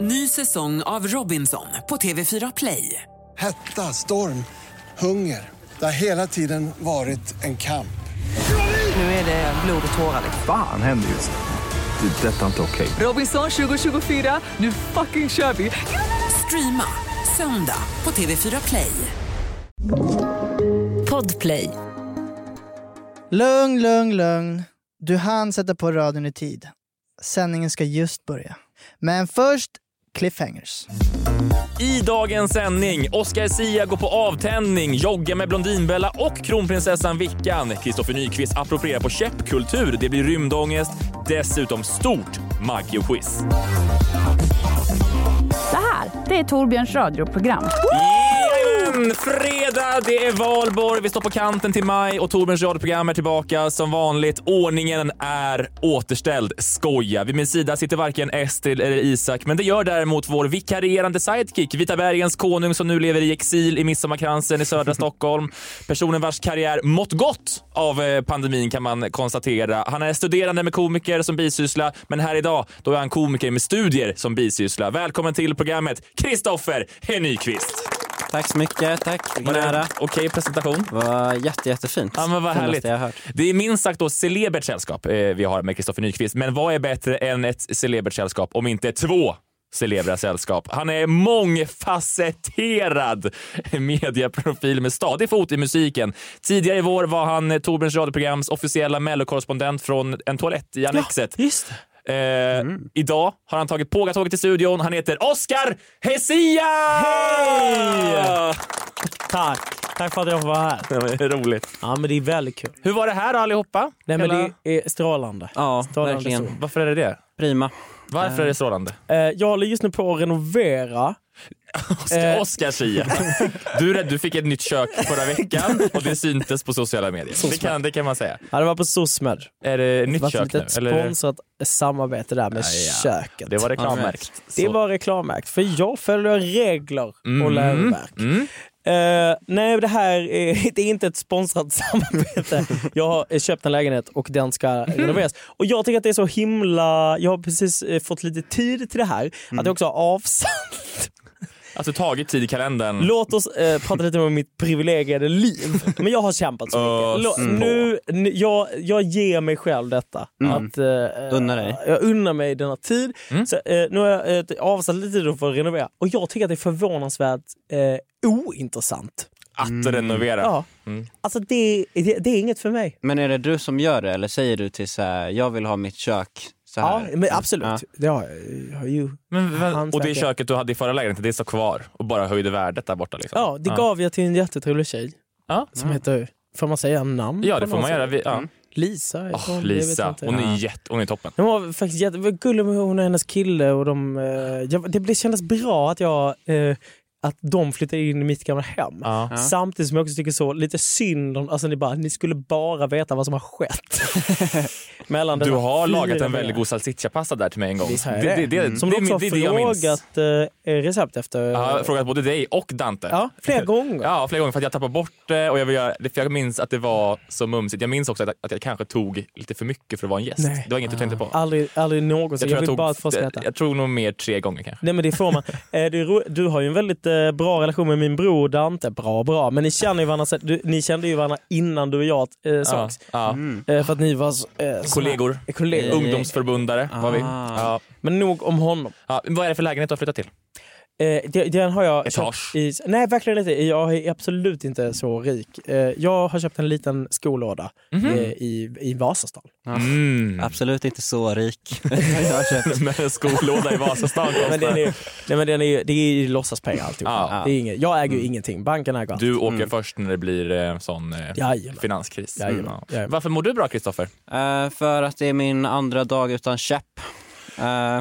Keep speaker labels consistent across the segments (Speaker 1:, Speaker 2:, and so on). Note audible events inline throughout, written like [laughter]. Speaker 1: Ny säsong av Robinson på TV4 Play.
Speaker 2: Hetta, storm, hunger. Det har hela tiden varit en kamp.
Speaker 1: Nu är det blod och tårar. liksom.
Speaker 3: Fan händer just nu. Det. är Detta är inte okej.
Speaker 1: Robinson 2024, nu fucking kör vi! Streama söndag på TV4 Play.
Speaker 4: Podplay.
Speaker 5: Lugn, lugn, lugn. Du hann sätta på radion i tid. Sändningen ska just börja. Men först cliffhangers.
Speaker 6: I dagens sändning, Oscar Sia går på avtändning, joggar med Blondinbella och kronprinsessan Vickan. Kristoffer Nyqvist approprierar på käppkultur, det blir rymdångest, dessutom stort Maggio-quiz.
Speaker 7: Det här, det är Torbjörns radioprogram.
Speaker 6: Jajamän! Mm, Fredag, det är valborg, vi står på kanten till maj och Torbjörns radioprogram är tillbaka som vanligt. Ordningen är återställd. Skoja! Vid min sida sitter varken Estrid eller Isak, men det gör däremot vår vikarierande sidekick, Vita bergens konung som nu lever i exil i Midsommarkransen i södra Stockholm. Personen vars karriär mått gott av eh, pandemin kan man konstatera. Han är studerande med komiker som bisyssla, men här idag då är han komiker med studier som bisyssla. Välkommen till programmet, Kristoffer Nyqvist.
Speaker 8: Tack så mycket, tack. Vilken
Speaker 6: Var det
Speaker 8: ära.
Speaker 6: en okej presentation?
Speaker 8: Det var jätte, jättefint.
Speaker 6: Ja, men vad
Speaker 8: Finaste
Speaker 6: härligt.
Speaker 8: jag har hört.
Speaker 6: Det är minst sagt då celebert sällskap eh, vi har med Kristoffer Nyqvist. Men vad är bättre än ett celebert sällskap om inte två celebra sällskap? Han är mångfacetterad mediaprofil med stadig fot i musiken. Tidigare i vår var han eh, Torbjörns radioprograms officiella mellokorrespondent från en toalett i Annexet.
Speaker 8: Just det.
Speaker 6: Eh, Idag har han tagit pågatåget till studion. Han heter Oscar Hesia! Hej!
Speaker 9: Tack! Tack för att jag får vara här.
Speaker 6: Det är roligt.
Speaker 9: Ja, men det är väldigt kul.
Speaker 6: Hur var det här då, allihopa?
Speaker 9: Nej, men
Speaker 6: Hela-
Speaker 9: det är strålande.
Speaker 8: Ja,
Speaker 9: Strålande
Speaker 8: verkligen.
Speaker 9: sol.
Speaker 6: Varför är det det?
Speaker 8: Prima.
Speaker 6: Varför är det strålande?
Speaker 9: Eh, jag håller just nu på att renovera. Eh.
Speaker 6: Oskar [laughs] Zia. Du, är rädd, du fick ett nytt kök förra veckan och det syntes på sociala medier. Det kan, det kan man säga.
Speaker 9: Ja, det var på SOSMED.
Speaker 6: Är det
Speaker 9: Det
Speaker 6: nytt
Speaker 9: var
Speaker 6: kök
Speaker 9: ett
Speaker 6: nu?
Speaker 9: litet
Speaker 6: Eller?
Speaker 9: sponsrat samarbete där med köket.
Speaker 6: Det var reklammärkt.
Speaker 9: Det var reklammärkt, för jag följer regler och läroverk.
Speaker 6: Mm.
Speaker 9: Eh, nej, det här är, [laughs] det är inte ett sponsrat [laughs] samarbete. Jag har eh, köpt en lägenhet och den ska
Speaker 6: Mm.
Speaker 9: renoveras. Och jag tycker att det är så himla... Jag har precis eh, fått lite tid till det här.
Speaker 6: Mm.
Speaker 9: Att jag också har avsatt
Speaker 6: Alltså tagit tid i kalendern.
Speaker 9: Låt oss eh, prata lite om mitt privilegierade liv. Men jag har kämpat så mycket. Lå-
Speaker 6: Ös på.
Speaker 9: nu, nu, jag, jag ger mig själv detta.
Speaker 6: Mm.
Speaker 9: Att, eh,
Speaker 8: Unna dig.
Speaker 9: Jag unnar mig denna tid. Så, eh, nu har jag eh, avsatt lite tid för att renovera och jag tycker att det är förvånansvärt eh, ointressant.
Speaker 6: Att renovera.
Speaker 9: Mm. Ja.
Speaker 6: Mm.
Speaker 9: Alltså det, det, det är inget för mig.
Speaker 8: Men är det du som gör det eller säger du till så här, jag vill ha mitt kök så
Speaker 9: Ja,
Speaker 8: här?
Speaker 6: Mm.
Speaker 9: men absolut.
Speaker 8: Ja.
Speaker 9: Det har jag, jag har ju.
Speaker 6: Men, vä- och det
Speaker 9: Hantverkare.
Speaker 6: köket du hade i förra lägenheten, det står kvar och bara höjde värdet där borta. Liksom.
Speaker 9: Ja, det gav jag till en jättetrevlig tjej
Speaker 6: Ja.
Speaker 9: som heter, får man säga namn?
Speaker 6: Ja, det
Speaker 9: på
Speaker 6: får
Speaker 9: någon
Speaker 6: man
Speaker 9: sätt?
Speaker 6: göra. Vi, ja.
Speaker 9: Lisa. jag
Speaker 6: Åh,
Speaker 9: får- jag vet
Speaker 6: Lisa,
Speaker 9: inte.
Speaker 6: hon är, jätte, hon är toppen.
Speaker 9: De var faktiskt jätte, var gullig med hon och hennes kille och de, eh, jag, det blev- kändes bra att, jag, eh, att de flyttade in i mitt gamla hem.
Speaker 6: Ja.
Speaker 9: Samtidigt som jag också tycker så lite synd om, alltså ni bara, ni skulle bara veta vad som
Speaker 6: [laughs]
Speaker 9: har skett. Mellan
Speaker 6: Du
Speaker 9: denna
Speaker 6: har lagat
Speaker 9: fina
Speaker 6: en väldigt
Speaker 9: veckan.
Speaker 6: god salsicciapasta där till mig en gång.
Speaker 9: Visst har jag
Speaker 6: det, Mm. det,
Speaker 9: Mm. det.
Speaker 6: det,
Speaker 9: Som
Speaker 6: det,
Speaker 9: du
Speaker 6: är min-
Speaker 9: också
Speaker 6: det, är
Speaker 9: har
Speaker 6: det jag minns.
Speaker 9: frågat eh, recept efter.
Speaker 6: Jag har frågat både dig och Dante.
Speaker 9: ja, flera gånger.
Speaker 6: Ja, flera gånger för att jag tappade bort det och jag, vill göra, det- för jag minns att det var så mumsigt. Jag minns också att, att jag kanske tog lite för mycket för att vara en gäst.
Speaker 9: Nej.
Speaker 6: Det var inget du tänkte på.
Speaker 9: Aldrig, aldrig någonsin. Jag,
Speaker 6: jag,
Speaker 9: vill bara att folk
Speaker 6: tog,
Speaker 9: ska
Speaker 6: jag,
Speaker 9: äta.
Speaker 6: tror nog mer tre gånger kanske.
Speaker 9: Nej men
Speaker 6: [laughs]
Speaker 9: det får man. Eh, Du, ro- du har ju en väldigt eh, bra relation med min bror Dante. Bra bra. Men ni känner ju varandra, sen- du, ni kände ju varandra innan du och jag eh,
Speaker 6: Ja,
Speaker 9: sågs.
Speaker 6: ja.
Speaker 9: Eh, för att ni var så, eh, såna-
Speaker 6: Kollegor.
Speaker 9: eh, kollegor.
Speaker 6: Ungdomsförbundare var vi.
Speaker 9: Ah.
Speaker 6: Ja.
Speaker 9: Men nog om honom.
Speaker 6: Ja, vad är det för lägenhet du har flyttat till?
Speaker 9: Eh, det- den har jag
Speaker 6: Etage.
Speaker 9: köpt i, Nej verkligen inte. Jag är absolut inte så rik. Eh, jag har köpt en liten skolåda
Speaker 6: Mhm.
Speaker 9: eh, i, i Vasastan.
Speaker 6: Mm.
Speaker 8: Absolut inte så rik. jag har
Speaker 6: [laughs]
Speaker 8: köpt.
Speaker 6: Med en skolåda i Vasastan.
Speaker 9: Men den är, ju- nej, men den är, ju- det är ju låtsaspengar alltihopa.
Speaker 6: Ja. Mm.
Speaker 9: Det är inget, jag äger ju ingenting. Banken äger allt.
Speaker 6: Du åker först när det blir eh, sån eh,
Speaker 9: Jajamän.
Speaker 6: finanskris.
Speaker 9: Jajamän.
Speaker 6: Ja.
Speaker 9: Jajamän.
Speaker 6: Varför mår du bra Kristoffer?
Speaker 8: Eh, för att det är min andra dag utan käpp. Eh,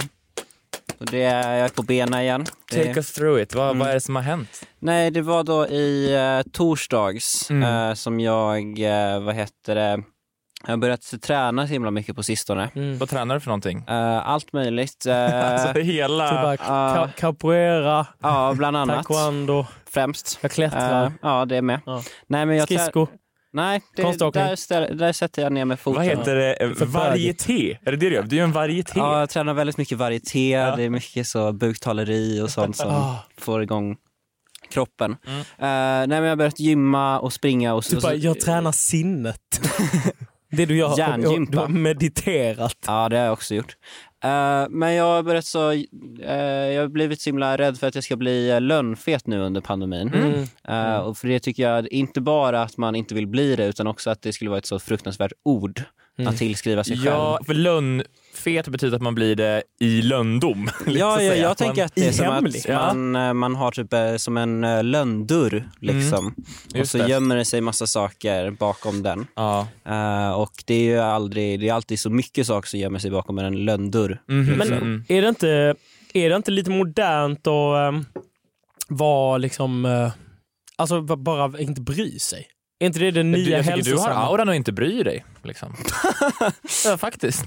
Speaker 8: och det är, jag är på benen igen. Det,
Speaker 6: Take us through it. Vad, vad är det som har hänt?
Speaker 8: Nej, det var då i eh, torsdags
Speaker 6: Mm.
Speaker 8: eh, som jag, eh, vad heter det, jag har börjat träna så himla mycket på sistone.
Speaker 9: Mm.
Speaker 6: Vad tränar du för någonting?
Speaker 8: Eh, allt möjligt. Eh,
Speaker 9: [laughs]
Speaker 6: alltså hela...
Speaker 9: Det är bara
Speaker 6: Ah.
Speaker 9: ca- capoeira,
Speaker 8: ja, bland annat.
Speaker 9: taekwondo,
Speaker 8: Främst.
Speaker 9: jag klättrar.
Speaker 8: Eh, ja, det är med.
Speaker 9: Ja.
Speaker 8: Nej, men jag trä-
Speaker 9: Skridsko.
Speaker 8: Nej, det,
Speaker 9: Konståkning.
Speaker 8: där, ställer, där sätter jag ner med foten.
Speaker 6: Vad heter det?
Speaker 9: För
Speaker 6: Varieté? Är det det du gör? Du gör en varieté.
Speaker 8: Ja, jag tränar väldigt mycket varieté, det är mycket så buktaleri och sånt som
Speaker 9: Ah.
Speaker 8: får igång kroppen. Mm. nej, men jag har börjat gymma och springa. Och,
Speaker 9: Du
Speaker 8: och
Speaker 9: bara, jag
Speaker 8: [laughs]
Speaker 9: tränar sinnet. Det du gör.
Speaker 8: Hjärngympa.
Speaker 9: Du har mediterat.
Speaker 8: Ja, det har jag också gjort. Eh, men jag har börjat så, eh, jag har blivit så himla rädd för att jag ska bli eh, lönnfet nu under pandemin. Eh, och för det tycker jag, inte bara att man inte vill bli det, utan också att det skulle vara ett så fruktansvärt ord att tillskriva sig själv.
Speaker 6: Ja, för lönnfet betyder att man blir det i löndom.
Speaker 9: liksom,
Speaker 8: Ja, ja jag tänker att det är
Speaker 9: I
Speaker 8: som
Speaker 9: hemlig.
Speaker 8: att man, eh, man har typ eh, som en eh, lönndörr liksom. Och
Speaker 6: Just
Speaker 8: så
Speaker 6: det.
Speaker 8: gömmer det sig massa saker bakom den.
Speaker 6: [laughs] [laughs] Ja.
Speaker 8: Eh, och det är ju aldrig, det är alltid så mycket saker som gömmer sig bakom en lönndörr.
Speaker 9: Men
Speaker 8: Mm.
Speaker 9: är, det inte, är det inte lite modernt att um, vara liksom, eh, alltså b- bara inte bry sig? Är inte det den
Speaker 6: Du,
Speaker 9: nya
Speaker 6: jag tycker du har
Speaker 9: hälsosamma?
Speaker 6: auran och inte bryr dig. Liksom. [laughs] ja, [laughs] faktiskt.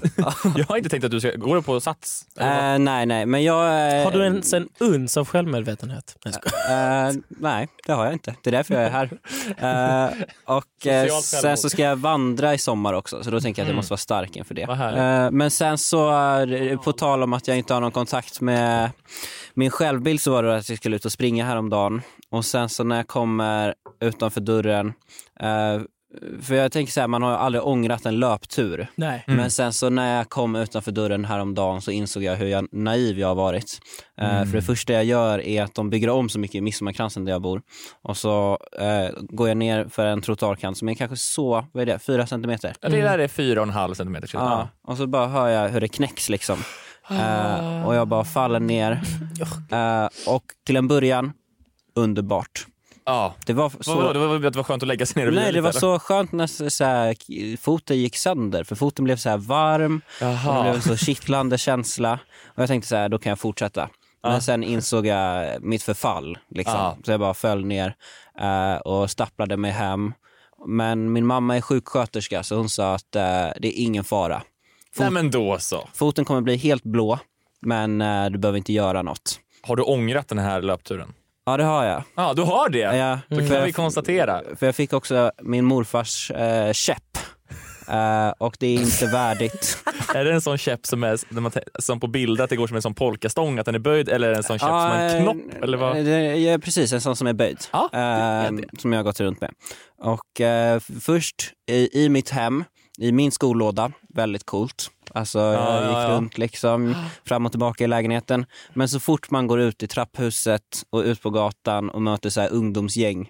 Speaker 6: jag har inte tänkt att du ska... Går du på Sats? Eller
Speaker 8: Eh, nej, nej, men jag... eh,
Speaker 9: Har du ens en uns av självmedvetenhet? Nej, jag skojar.
Speaker 8: Eh, nej, det har jag inte. Det är därför jag är här. Eh, och eh,
Speaker 6: Socialt
Speaker 8: sen
Speaker 6: självmord.
Speaker 8: så ska jag vandra i sommar också, så då tänker jag att jag måste vara stark inför det.
Speaker 6: Vad härligt.
Speaker 8: Eh, men sen så, är- på tal om att jag inte har någon kontakt med min självbild så var det att jag skulle ut och springa häromdagen. Och sen så när jag kommer utanför dörren, eh, för jag tänker så här, man har ju aldrig ångrat en löptur.
Speaker 9: Nej.
Speaker 8: Men sen så när jag kom utanför dörren häromdagen så insåg jag hur jag, naiv jag har varit. Eh, för det första jag gör är att de bygger om så mycket i Midsommarkransen där jag bor. Och så eh, går jag ner för en trottoarkant som är kanske så, vad är det, fyra centimeter?
Speaker 6: vad? Det där är 4,5 centimeter. till.
Speaker 8: Ja. Och så bara hör jag hur det knäcks liksom. Eh, och jag bara faller ner. Eh, och till en början, underbart.
Speaker 6: ja.
Speaker 8: Det var
Speaker 6: Så... Vadå,
Speaker 8: så
Speaker 6: det var, det var skönt att lägga sig ner och vila
Speaker 8: Nej, det var
Speaker 6: lite,
Speaker 8: så skönt när så, så här, k- foten gick sönder, för foten blev så här varm och det blev en så kittlande känsla. Och jag tänkte så här, då kan jag fortsätta. Men sen insåg jag mitt förfall, liksom.
Speaker 6: Ja.
Speaker 8: så jag bara föll ner eh, och stapplade mig hem. Men min mamma är sjuksköterska, så hon sa att eh, det är ingen fara.
Speaker 6: eller? Nej, men då så.
Speaker 8: Foten kommer bli helt blå, men eh, du behöver inte göra något.
Speaker 6: Har du ångrat den här löpturen?
Speaker 8: Ja, det har jag.
Speaker 6: Ja, du har det.
Speaker 8: Ja,
Speaker 6: Då
Speaker 8: mm.
Speaker 6: kan vi konstatera.
Speaker 8: För jag fick också min morfars eh, käpp. Eh, och det är inte värdigt.
Speaker 6: Är det en sån käpp som, är, när man te- som på bild att det går som en sån polkastång, att den är böjd, eller är det [laughs] en sån käpp som har
Speaker 8: Ja,
Speaker 6: en
Speaker 8: eh,
Speaker 6: knopp? Eller vad?
Speaker 8: det- ja, precis, en sån som är böjd.
Speaker 6: Ja, det är
Speaker 8: Eh,
Speaker 6: det.
Speaker 8: som jag har gått runt med. Och eh, f- först i, i mitt hem, i min skolåda, väldigt coolt. Alltså jag
Speaker 6: ja,
Speaker 8: gick
Speaker 6: ja.
Speaker 8: runt liksom, fram och tillbaka i lägenheten. Men så fort man går ut i trapphuset och ut på gatan och möter så här ungdomsgäng,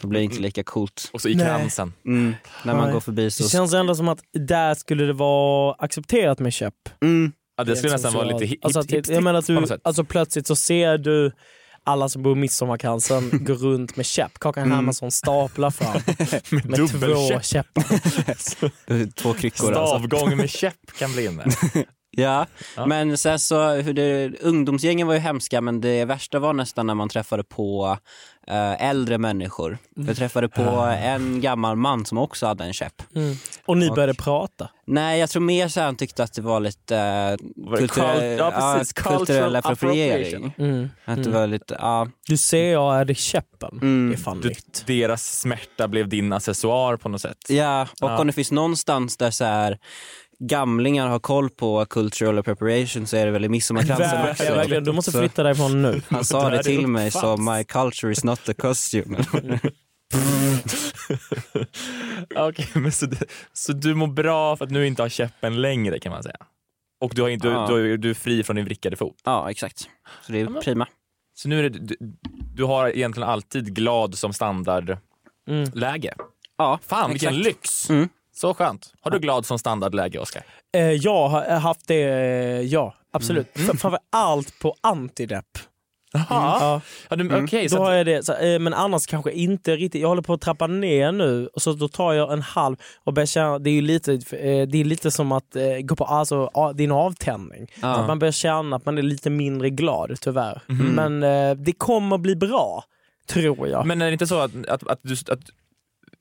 Speaker 8: då blir det inte lika coolt.
Speaker 6: Mm. Och så i
Speaker 9: Nej.
Speaker 6: kransen.
Speaker 8: Mm, när man
Speaker 9: Nej.
Speaker 8: går förbi
Speaker 9: Det
Speaker 8: så...
Speaker 9: känns ändå som att där skulle det vara accepterat med köp.
Speaker 8: Mm.
Speaker 6: Ja, det skulle nästan vara lite hip,
Speaker 9: alltså,
Speaker 6: alltså,
Speaker 9: att,
Speaker 6: hip,
Speaker 9: jag menar att
Speaker 6: på
Speaker 9: du,
Speaker 6: något sätt.
Speaker 9: alltså Plötsligt så ser du alla som bor i
Speaker 6: [laughs]
Speaker 9: Midsommarkransen gå runt med käpp. Kakan Hermansson staplar fram med, två
Speaker 6: Mm. dubbelkäpp.
Speaker 9: käppar.
Speaker 8: Två kryckor alltså.
Speaker 6: Stavgång med käpp kan bli inne.
Speaker 8: Ja. men sen så, hur det, ungdomsgängen var ju hemska men det värsta var nästan när man träffade på eh, äldre människor. Jag träffade på en gammal man som också hade en käpp.
Speaker 6: Mm.
Speaker 9: Och ni började prata.
Speaker 8: Nej, jag tror mer så här han tyckte att det var lite eh,
Speaker 6: Var det cult-
Speaker 8: kulturell,
Speaker 6: ja, precis. Cultural
Speaker 8: kulturell
Speaker 6: appropriation. Mm.
Speaker 8: appropriering. Att det var lite, ja.
Speaker 9: Du ser jag är det käppen.
Speaker 8: Mm.
Speaker 9: Det är
Speaker 6: [laughs]
Speaker 9: fan
Speaker 6: Du-
Speaker 9: nytt.
Speaker 6: Deras smärta blev din accessoar på något sätt.
Speaker 8: Ja, och om det finns någonstans där så här gamlingar har koll på cultural appropriation så är det väl i Midsommarkransen också.
Speaker 9: Verkligen, verkligen. Du måste
Speaker 8: Så-
Speaker 9: flytta därifrån nu.
Speaker 8: Han sa
Speaker 6: alltså där
Speaker 8: det
Speaker 6: är
Speaker 8: till
Speaker 6: inte
Speaker 8: mig
Speaker 6: fast.
Speaker 8: som “My culture is not a costume”.
Speaker 6: Ja, Okej, men så, det- så du mår bra för att du inte har käppen längre kan man säga? Och du, har inte,
Speaker 8: Ja.
Speaker 6: du, du är fri från din vrickade fot.
Speaker 8: ja, exakt. Så det är prima.
Speaker 6: Så nu är det, du, du har egentligen alltid glad som standardläge.
Speaker 8: Mm. Ja,
Speaker 6: Fan vilken
Speaker 8: exakt.
Speaker 6: lyx!
Speaker 8: Mm.
Speaker 6: Så skönt. Har du glad som standardläge Oskar?
Speaker 9: Eh, jag har haft det, eh, ja. Absolut. Mm. Framförallt på antidepp.
Speaker 6: Ja. Mm. ja du- Okej,
Speaker 9: Mm. Då
Speaker 6: så
Speaker 9: har
Speaker 6: att,
Speaker 9: jag det, så, eh, men annars kanske inte riktigt. Jag håller på att trappa ner nu, och så då tar jag en halv och börjar känna, det är ju lite, eh, det är lite som att eh, gå på, alltså a- det är en avtändning. Så att man börjar känna att man är lite mindre glad tyvärr.
Speaker 6: Mhm.
Speaker 9: Mm. Men eh, det kommer bli bra, tror jag.
Speaker 6: men är det inte så att, att, att, du, att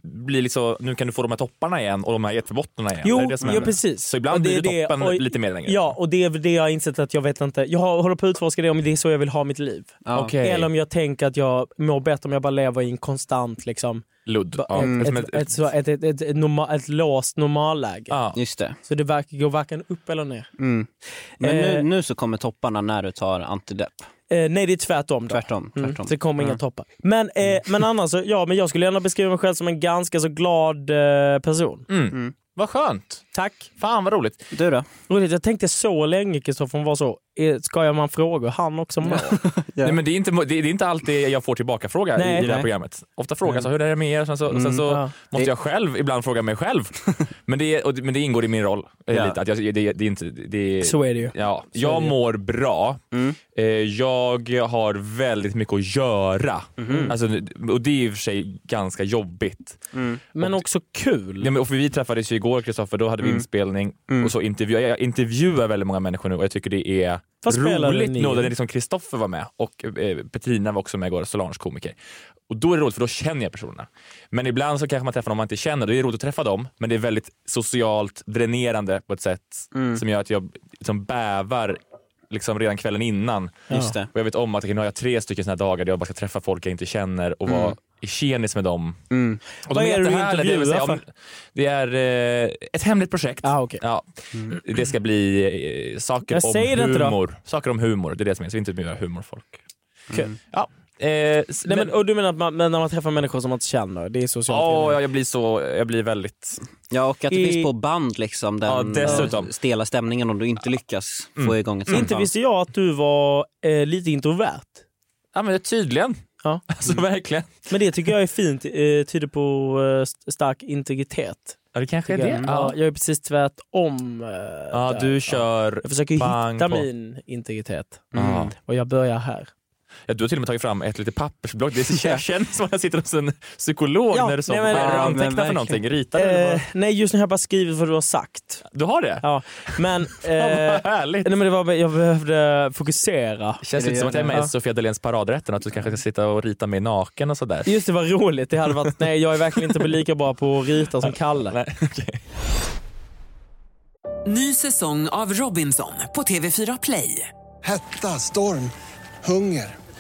Speaker 6: blir liksom, nu kan du få de här topparna igen och de här jättebottnarna igen.
Speaker 9: Jo,
Speaker 6: Är det det som
Speaker 9: ja,
Speaker 6: händer?
Speaker 9: precis.
Speaker 6: Så ibland
Speaker 9: Och
Speaker 6: blir
Speaker 9: är
Speaker 6: det toppen
Speaker 9: och-
Speaker 6: lite mer längre.
Speaker 9: Ja, och det är väl det jag har insett att jag vet inte. Jag har- håller på att utforska det om det är så jag vill ha mitt liv.
Speaker 8: Ja.
Speaker 6: Okej.
Speaker 9: Eller om jag tänker att jag mår bättre om jag bara lever i en konstant liksom,
Speaker 6: Ludd.
Speaker 9: ba-
Speaker 6: Ja.
Speaker 9: ett,
Speaker 6: Som
Speaker 9: ett, ett, så- ett, ett, ett, ett, norma, ett låst normalläge.
Speaker 6: ja.
Speaker 8: Just det.
Speaker 9: Så det verkar gå varken upp eller ner.
Speaker 8: Mm. Men nu,
Speaker 9: Eh.
Speaker 8: nu så kommer topparna när du tar antidepp.
Speaker 9: Eh, nej, det är tvärtom. Då.
Speaker 8: Tvärtom. tvärtom.
Speaker 9: Mm, så det kommer inga toppar. Men,
Speaker 6: Mm.
Speaker 9: eh, men annars, så, ja, men jag skulle gärna beskriva mig själv som en ganska så glad eh, person.
Speaker 6: Mm. Vad skönt.
Speaker 9: Tack.
Speaker 6: Fan vad roligt.
Speaker 8: Du då?
Speaker 9: Roligt, jag tänkte så länge Kristoffer hon var så, eh, ska jag man frågor? Han också mår.
Speaker 8: Ja.
Speaker 6: Nej, men det, är inte, det det är inte alltid jag får tillbaka-fråga i,
Speaker 9: Nej. Mm.
Speaker 6: i det här
Speaker 8: Nej.
Speaker 6: programmet. Ofta frågas jag hur är det med er? Sen så, sen så
Speaker 9: ja.
Speaker 6: måste jag själv ibland fråga mig
Speaker 9: [laughs]
Speaker 6: själv. men, det, är- och, det- men det ingår i min roll. eh,
Speaker 8: Ja.
Speaker 6: Lite, att jag, det, det är inte, det, är-
Speaker 9: Så är det ju.
Speaker 6: Ja,
Speaker 9: Så är
Speaker 6: jag
Speaker 9: det ju.
Speaker 6: mår bra.
Speaker 8: Mm.
Speaker 6: Eh, Jag har väldigt mycket att göra. Alltså, och det är i och för sig ganska jobbigt.
Speaker 9: [laughs] Men också kul. Mm.
Speaker 6: Ja, men, och för vi träffades ju igår Kristoffer, då hade vi inspelning och så intervjuar jag intervjuar väldigt många människor nu och jag tycker det är
Speaker 9: Vad spelade
Speaker 6: roligt
Speaker 9: ni?
Speaker 6: nu när liksom Kristoffer var med och eh, Petrina var också med igår, Solange komiker. Och då är det roligt för då känner jag personerna. Men ibland så kanske man träffar någon man inte känner, då är det roligt att träffa dem men det är väldigt socialt dränerande på ett sätt
Speaker 9: Mm.
Speaker 6: som gör att jag liksom bävar liksom redan kvällen innan.
Speaker 8: Just det.
Speaker 6: Och jag vet om att okej, nu har jag tre stycken såna här dagar där jag bara ska träffa folk jag inte känner och vara i tjenis med dem. Och de
Speaker 9: Mm. Vad är det du
Speaker 6: jättehärliga, det vill säga,
Speaker 9: intervjuar för?
Speaker 6: om- Det är eh, ett hemligt projekt.
Speaker 9: Ah, okej.
Speaker 6: ja. Det ska bli eh, saker
Speaker 9: Jag säger det
Speaker 6: om
Speaker 9: inte då.
Speaker 6: humor. Saker om humor, det är det som är. Så vi intervjuar humorfolk.
Speaker 9: Kul.
Speaker 6: Ja. Eh, s-
Speaker 9: Nej, men,
Speaker 6: men,
Speaker 9: och du menar att man, men när man träffar människor som man inte känner, det är socialt?
Speaker 6: Åh,
Speaker 9: menar
Speaker 6: ja, jag blir så, jag blir väldigt...
Speaker 8: Ja, och att det
Speaker 9: I-
Speaker 8: finns på band liksom den
Speaker 6: Ja, dessutom. Mm.
Speaker 8: eh, stela stämningen om du inte lyckas få igång ett
Speaker 9: jag.
Speaker 8: samtal.
Speaker 9: Inte visste jag att du var eh, lite introvert.
Speaker 6: Ja men tydligen. [laughs]
Speaker 9: Ja.
Speaker 6: Alltså verkligen.
Speaker 9: Men det tycker jag är fint, eh, tyder på eh, st- stark integritet.
Speaker 6: Ja det kanske är
Speaker 9: tycker
Speaker 6: det.
Speaker 9: jag. Ja,
Speaker 6: Ja.
Speaker 9: jag är precis tvärtom. Eh,
Speaker 6: Ja,
Speaker 9: där.
Speaker 6: du kör...
Speaker 9: Jag försöker
Speaker 6: Bang
Speaker 9: hitta
Speaker 6: på.
Speaker 9: min integritet Mm.
Speaker 6: Ja.
Speaker 9: och jag börjar här.
Speaker 6: Ja, du har till och med tagit fram ett litet pappersblock. Det
Speaker 9: [laughs]
Speaker 6: känns- känns som att jag sitter hos en psykolog
Speaker 9: Ja,
Speaker 6: när du sa
Speaker 9: nej,
Speaker 6: att
Speaker 9: men-
Speaker 6: du
Speaker 8: Ja, men
Speaker 6: antecknar för
Speaker 8: verkligen.
Speaker 6: någonting. Ritar du? eller
Speaker 9: Eh,
Speaker 6: vad?
Speaker 9: nej, just nu har jag bara skrivit vad du har sagt.
Speaker 6: Du har det?
Speaker 9: Ja,
Speaker 6: [laughs]
Speaker 9: men, eh,
Speaker 6: Fan,
Speaker 9: nej,
Speaker 6: vad härligt.
Speaker 9: men det var, jag behövde fokusera.
Speaker 6: Känns
Speaker 8: Är
Speaker 6: lite
Speaker 8: det
Speaker 6: som att jag är med i
Speaker 9: gärna-
Speaker 6: Sofia Dalens paradrätten, att du kanske ska sitta och rita mig naken och sådär.
Speaker 9: Just det, var roligt. Det hade varit, nej, jag är verkligen inte lika bra på att rita som Kalle.
Speaker 6: Nej, okej.
Speaker 1: Ny säsong av Robinson på TV4 Play.
Speaker 2: Hetta, storm, hunger.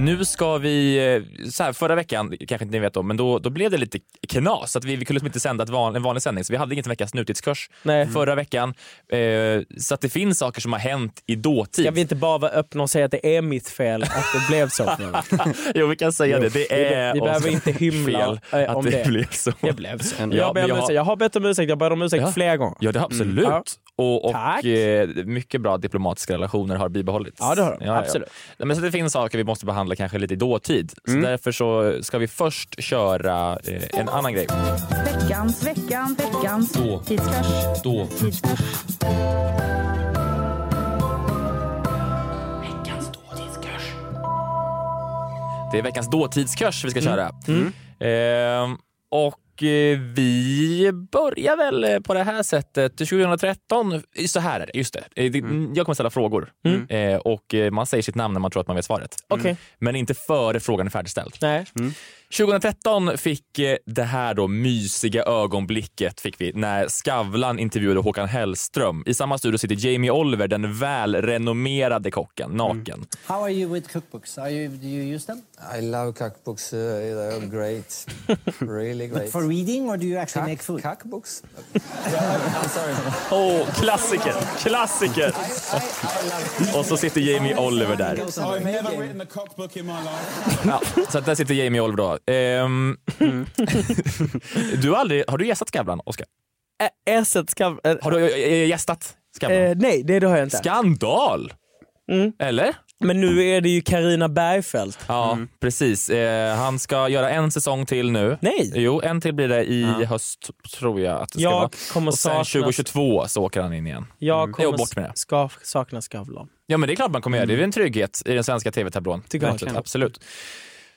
Speaker 6: Nu ska vi, eh, så här, förra veckan, kanske inte ni vet om, men då, då blev det lite knas. Att vi, vi kunde liksom inte sända ett van, en vanlig sändning, så vi hade ingen veckas nutidskurs
Speaker 9: Nej.
Speaker 6: förra veckan. Eh, så att det finns saker som har hänt i dåtid.
Speaker 9: Ska vi inte bara vara öppna och säga att det är mitt fel att det
Speaker 6: [laughs]
Speaker 9: blev så?
Speaker 6: jo, vi kan säga det. Det är
Speaker 9: vi behöver
Speaker 6: Oskars
Speaker 9: inte hymla,
Speaker 6: fel
Speaker 9: eh,
Speaker 6: att
Speaker 9: om
Speaker 6: det,
Speaker 9: det.
Speaker 6: blev så.
Speaker 9: Det blev så.
Speaker 8: Ja,
Speaker 9: jag, ber om
Speaker 6: men jag-
Speaker 9: ursäkt. jag har bett om ursäkt, jag ber om ursäkt
Speaker 6: Ja.
Speaker 9: flera gånger.
Speaker 6: Ja, det har absolut.
Speaker 9: Mm. Ja.
Speaker 6: Och,
Speaker 9: Tack.
Speaker 6: och eh, mycket bra diplomatiska relationer har bibehållits.
Speaker 9: Ja, det har de. Absolut. Mm.
Speaker 6: Nej, men så det finns saker vi måste behandla kanske lite i dåtid. Så därför så ska vi först köra eh, en annan grej.
Speaker 7: Veckans, veckan, veckans
Speaker 6: Då.
Speaker 7: tidskurs.
Speaker 6: Då.
Speaker 7: tidskurs.
Speaker 6: Det är veckans dåtidskurs vi ska köra. Ehm, och eh, vi börjar väl eh, på det här sättet. 2013, så här är det, just det. Eh, det. Jag kommer ställa frågor Eh, och eh, man säger sitt namn när man tror att man vet svaret.
Speaker 9: Okej.
Speaker 6: Men inte före frågan är färdigställd.
Speaker 9: Nej.
Speaker 6: 2013 fick eh, det här då mysiga ögonblicket fick vi när Skavlan intervjuade Håkan Hellström. I samma studio sitter Jamie Oliver, den välrenommerade kocken, naken.
Speaker 10: How are you with cookbooks? Are you, do you use them?
Speaker 11: I love cookbooks. Uh,
Speaker 9: Eh,
Speaker 11: they're great, really great.
Speaker 10: But for reading, or do you actually
Speaker 11: Cook-
Speaker 10: make food?
Speaker 11: Cookbooks. I'm sorry.
Speaker 6: Oh, klassiker! Klassiker! Och så sitter Jamie Oliver där.
Speaker 12: I've never written a cookbook in my life.
Speaker 6: Ja, så att där sitter Jamie Oliver då. Ehm, [laughs] du har, aldrig, har du gästat Skavlan, Oskar?
Speaker 9: eh, Esset ska...
Speaker 6: Har du eh, gästat Skavlan?
Speaker 9: Eh, nej, det, det har jag inte.
Speaker 6: Skandal! Eller?
Speaker 9: Men nu är det ju Karina Bergfeldt.
Speaker 6: Ja, precis. Eh, han ska göra en säsong till nu.
Speaker 9: Nej!
Speaker 6: Jo, en till blir det i höst, tror jag att det ska
Speaker 9: Jag
Speaker 6: vara.
Speaker 9: kommer
Speaker 6: Och sen
Speaker 9: saknas-
Speaker 6: 2022 så åker han in igen.
Speaker 9: Jag
Speaker 6: Jo,
Speaker 9: kommer
Speaker 6: bort med det.
Speaker 9: ska sakna Skavlan.
Speaker 6: Ja, men det är klart man kommer göra. Det är
Speaker 9: Mm.
Speaker 6: väl en trygghet i den svenska tv-tablån.
Speaker 9: Tycker jag
Speaker 6: Verkligen,
Speaker 9: verkligen.
Speaker 6: Absolut.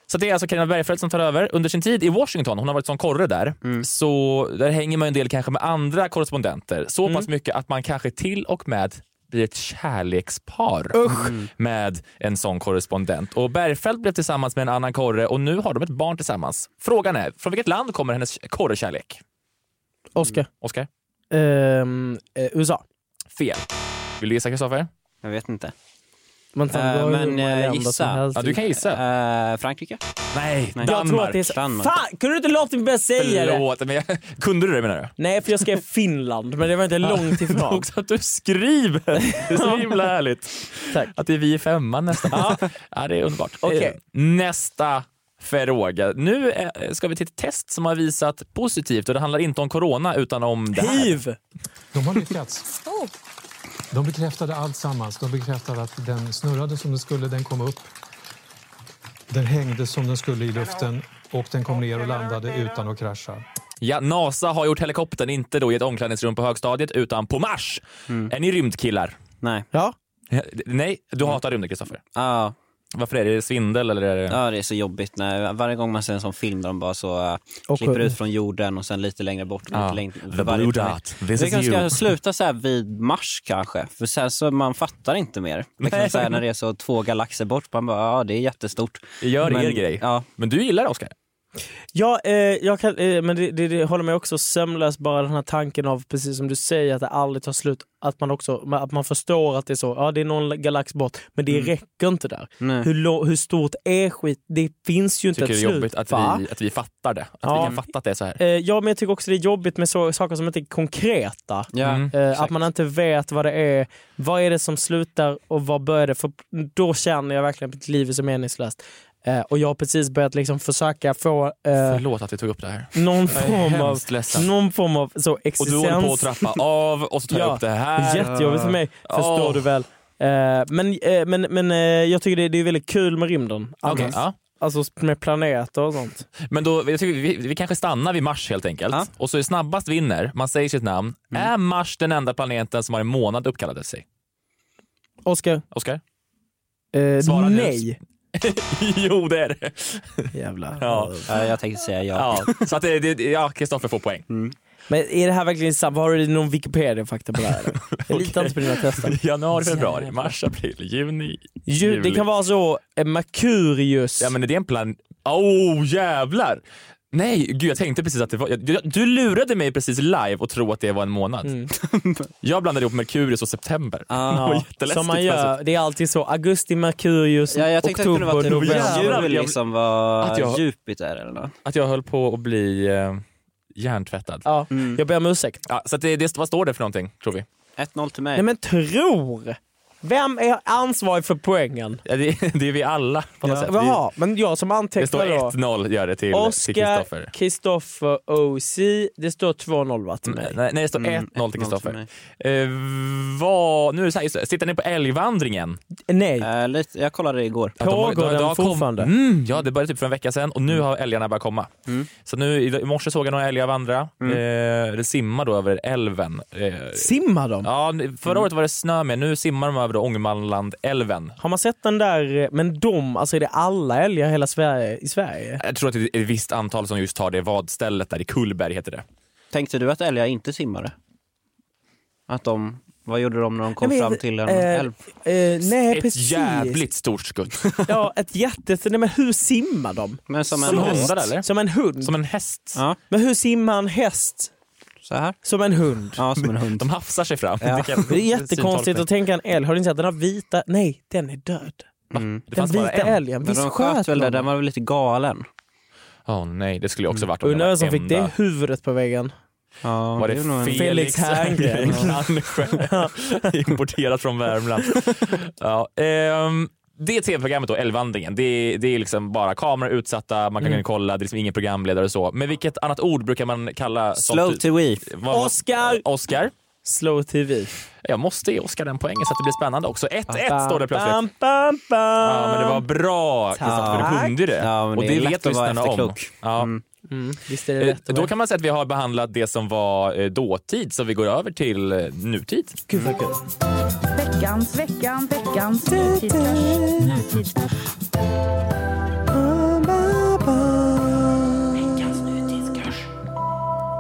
Speaker 6: Så det är alltså Carina Bergfeldt som tar över. Under sin tid i Washington, hon har varit som korre där,
Speaker 9: Mm.
Speaker 6: så där hänger man ju en del kanske med andra korrespondenter. Så
Speaker 9: Mm.
Speaker 6: pass mycket att man kanske till och med blir ett kärlekspar Mm. med en sån korrespondent. Och Bergfeldt blev tillsammans med en annan korre och nu har de ett barn tillsammans. Frågan är, från vilket land kommer hennes korrekärlek?
Speaker 9: Oscar.
Speaker 6: Oscar?
Speaker 9: Ehm, eh, USA.
Speaker 6: Fel. Vill du gissa Kristoffer?
Speaker 8: Jag vet inte.
Speaker 9: Men, fan,
Speaker 8: Eh,
Speaker 9: då är det hur
Speaker 8: men
Speaker 9: många
Speaker 8: eh,
Speaker 9: länder som
Speaker 8: gissa.
Speaker 9: helst. Ja, du kan
Speaker 6: gissa.
Speaker 8: Äh, Eh, Frankrike?
Speaker 6: Nej,
Speaker 9: Jag tror att det är så...
Speaker 8: Danmark.
Speaker 9: Fan, kunde du inte låta mig bara säga det?
Speaker 6: Förlåt, men jag, kunde du det menar du?
Speaker 9: Nej, för jag skrev Finland, men det var inte långt ifrån.
Speaker 6: Också att du skriver! Det är så himla härligt.
Speaker 9: Tack.
Speaker 6: Att det är vi i femman nästan. Ja. det är underbart.
Speaker 9: Okej.
Speaker 6: Eh, Nästa fråga. Nu eh, ska vi till ett test som har visat positivt och det handlar inte om corona utan om det här.
Speaker 9: Hiv!
Speaker 13: De har lyckats. De bekräftade allt sammans. De bekräftade att den snurrade som den skulle, den kom upp. Den hängde som den skulle i luften och den kom ner och landade utan att krascha.
Speaker 6: Ja, NASA har gjort helikoptern inte då i ett omklädningsrum på högstadiet utan på Mars. Är ni rymdkillar?
Speaker 8: Nej.
Speaker 9: Ja.
Speaker 6: Nej, du hatar rymden Kristoffer.
Speaker 8: Ja.
Speaker 6: Varför är det svindel eller? Är det...
Speaker 8: Ja, det är så jobbigt. När, varje gång man ser en sån film där de bara så eh,
Speaker 6: Och-
Speaker 8: klipper ut från jorden och sen lite längre bort. och
Speaker 6: Ja.
Speaker 8: Lite längre,
Speaker 6: The
Speaker 8: varje
Speaker 6: blue
Speaker 8: planet.
Speaker 6: dot. This
Speaker 8: Vi
Speaker 6: is
Speaker 8: kanske ska
Speaker 6: you.
Speaker 8: sluta så här vid Mars kanske, för sen så man fattar inte mer.
Speaker 6: [laughs]
Speaker 8: Liksom
Speaker 6: Nej.
Speaker 8: så här, när det är så två galaxer bort, man bara ja det är jättestort.
Speaker 6: Gör er grej.
Speaker 8: Ja.
Speaker 6: Men du gillar det Oskar?
Speaker 9: Ja, eh, jag kan, eh, men det, det, det håller mig också sömnlös bara den här tanken av, precis som du säger, att det aldrig tar slut. Att man också att man förstår att det är så, ja det är någon galax bort, men det
Speaker 6: Mm.
Speaker 9: räcker inte där.
Speaker 6: Nej.
Speaker 9: Hur, lo- hur stort är skit? Det finns ju inte
Speaker 6: Tycker det
Speaker 9: ett
Speaker 6: är
Speaker 9: slut.
Speaker 6: jobbigt att
Speaker 9: va?
Speaker 6: vi, att vi fattar det? Att
Speaker 9: Ja.
Speaker 6: vi kan fatta att det är så här?
Speaker 9: Eh, ja, men jag tycker också det är jobbigt med så, saker som inte är konkreta.
Speaker 6: Ja, Mm.
Speaker 9: eh, att man inte vet vad det är. Vad är det som slutar och vad börjar det? För då känner jag verkligen att mitt liv är så meningslöst. Eh, och jag har precis börjat liksom försöka få eh,
Speaker 6: Förlåt att vi tog upp det här.
Speaker 9: någon
Speaker 6: Jag är
Speaker 9: form av,
Speaker 6: hemskt ledsen.
Speaker 9: någon form av så
Speaker 6: Och
Speaker 9: existens.
Speaker 6: du håller på att trappa av och så tar jag upp det här.
Speaker 9: Jättejobbigt för mig, förstår
Speaker 6: Åh.
Speaker 9: du väl. Eh, men eh, men, men eh, jag tycker det, det är väldigt kul med rymden.
Speaker 6: Okej,
Speaker 9: annars.
Speaker 6: ja.
Speaker 9: Alltså med planeter och sånt.
Speaker 6: Men då, jag tycker vi, vi kanske stannar vid Mars helt enkelt. Och så är snabbast vinner, man säger sitt namn.
Speaker 9: Mm.
Speaker 6: Är Mars den enda planeten som har en månad uppkallad efter sig?
Speaker 9: Oskar?
Speaker 6: Oskar?
Speaker 9: Eh,
Speaker 6: Svara nu.
Speaker 9: nej.
Speaker 6: [laughs] jo, det är det.
Speaker 9: Jävlar.
Speaker 6: Ja.
Speaker 8: Ja, jag tänkte säga ja.
Speaker 6: ja. Så att det, det, ja, Kristoffer får poäng.
Speaker 9: Men är det här verkligen sant? Har du någon Wikipedia-fakta på det
Speaker 6: [laughs]
Speaker 9: här? eller? Jag litar inte på dina tester. [laughs]
Speaker 6: Januari, februari, mars, april, juni,
Speaker 9: Ju, det
Speaker 6: juli.
Speaker 9: kan vara så, eh, Merkurius.
Speaker 6: Ja, men är det en plan... Oh, jävlar! Nej, gud jag tänkte precis att det var... jag- Du, du lurade mig precis live och tro att det var en månad. [laughs] jag blandade ihop Merkurius och september. det var
Speaker 9: Mm. Ja,
Speaker 6: jätteläskigt.
Speaker 9: som man gör.
Speaker 6: plötsligt.
Speaker 9: Det är alltid så. Augusti, Merkurius,
Speaker 8: ja jag tänkte
Speaker 9: oktober,
Speaker 8: att det kunde vara typ
Speaker 9: november.
Speaker 8: jul liksom var
Speaker 6: Att jag-
Speaker 8: Jupiter eller något.
Speaker 6: Att jag höll på att bli eh, hjärntvättad.
Speaker 9: Ja, Jag ber om ursäkt.
Speaker 6: Ja, så att det, det, vad står det för någonting, tror vi?
Speaker 8: 1-0 till mig.
Speaker 9: Nej men tror! Vem är ansvarig för poängen?
Speaker 6: Ja, det, [laughs] det är vi alla på något sätt. Det,
Speaker 9: Jaha, men jag som
Speaker 6: det står
Speaker 9: antecknar då.
Speaker 6: 1-0 gör det till till Kristoffer.
Speaker 9: Oskar, Kristoffer, OC. Det står 2-0 va? Till mig.
Speaker 6: Mm, Nej, nej, det står
Speaker 8: Mm,
Speaker 6: 1-0 till Kristoffer. Eh, vad, nu är det så här, just det, sitter ni på älgvandringen?
Speaker 9: Nej.
Speaker 8: Eh, lite, jag kollade igår.
Speaker 6: Att de-
Speaker 9: Pågår
Speaker 6: de- de- de
Speaker 9: den
Speaker 6: kom-
Speaker 9: fortfarande?
Speaker 6: Mm, ja, det började typ för en vecka sedan och nu har älgarna börjat komma. Så nu i i morse såg jag några älgar vandra.
Speaker 9: Mm.
Speaker 6: Eh, det simmar då över älven. Eh,
Speaker 9: Simmar de?
Speaker 6: ja, nu- förra året var det snö med, nu simmar de över då Ångermanlandälven.
Speaker 9: Har man sett den där, eh, men de, alltså är det alla älgar i hela Sverige, i Sverige?
Speaker 6: Jag tror att det är ett visst antal som just tar det vadstället där i Kullberg heter det.
Speaker 8: Tänkte du att älgar inte simmade? Att de Vad gjorde de när de kom
Speaker 9: Jag vet,
Speaker 8: fram till en
Speaker 9: eh,
Speaker 8: älv?
Speaker 9: eh, nej,
Speaker 8: Ett
Speaker 9: precis.
Speaker 8: jävligt
Speaker 6: stort skutt.
Speaker 9: ja, ett jätte... Nej, men hur simmar de?
Speaker 8: Men som en
Speaker 9: Så.
Speaker 8: häst. Hundar, eller?
Speaker 9: Som en hund. Som
Speaker 6: en häst.
Speaker 9: Men hur simmar en häst?
Speaker 8: Så här?
Speaker 9: Som en hund.
Speaker 8: Ja, som en hund.
Speaker 6: De hafsar sig fram.
Speaker 9: Ja.
Speaker 6: Vilken
Speaker 9: Det är
Speaker 6: syntolkning.
Speaker 9: jättekonstigt att tänka en älg. Har ni sett den har vita... Nej, den är död.
Speaker 6: Mm.
Speaker 9: Den vita älgen.
Speaker 8: Men
Speaker 9: Visst
Speaker 8: de sköt väl där,
Speaker 9: de?
Speaker 8: den var väl lite galen.
Speaker 6: Åh nej, det skulle jag också varit om
Speaker 9: Undrar
Speaker 6: det
Speaker 9: vem
Speaker 6: var
Speaker 9: som fick
Speaker 6: enda-
Speaker 9: det huvudet på väggen.
Speaker 8: Ja,
Speaker 6: Var det,
Speaker 8: är nog en-
Speaker 6: Felix, Herngren? Kanske. [laughs] Importerat från Värmland. ja, ehm, det tv-programmet då, Älvandringen, det, det är liksom bara kameror utsatta, man kan
Speaker 9: Mm.
Speaker 6: kolla, det är liksom ingen programledare och så. Men vilket annat ord brukar man kalla
Speaker 8: Slow to we.
Speaker 6: Oscar! Oscar.
Speaker 9: Slow TV.
Speaker 6: Jag måste ge Oscar den poängen så att det blir spännande också. 1-1 står det plötsligt.
Speaker 9: Bam, bam, bam.
Speaker 6: Ja, men det var bra Kristoffer, du
Speaker 9: Tack.
Speaker 6: kunde det.
Speaker 8: Ja, men
Speaker 6: och
Speaker 8: det
Speaker 6: det,
Speaker 8: är lätt
Speaker 6: vet
Speaker 8: att vara
Speaker 6: lyssnarna om.
Speaker 8: efterklok.
Speaker 6: Ja.
Speaker 9: Mm, visst är det rätt.
Speaker 6: Eh, Då kan man säga att vi har behandlat det som var eh, dåtid, så vi går över till eh, nutid.
Speaker 9: Gud vad kul.
Speaker 7: Veckans, veckans, veckans nutidstvärs. Nutidstvärs.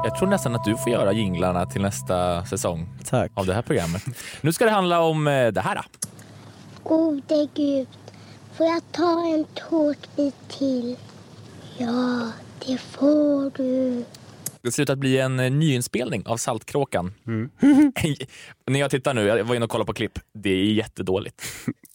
Speaker 6: Jag tror nästan att du får göra jinglarna till nästa säsong
Speaker 9: Tack.
Speaker 6: av det här programmet. Nu ska det handla om eh, det här. då.
Speaker 14: Gode Gud, får jag ta en tårtbit till? Ja, det får du.
Speaker 6: Det ser ut att bli en eh, nyinspelning av Saltkråkan.
Speaker 9: Mm.
Speaker 6: [laughs] När jag tittar nu, jag var inne och kollade på klipp, det är jättedåligt.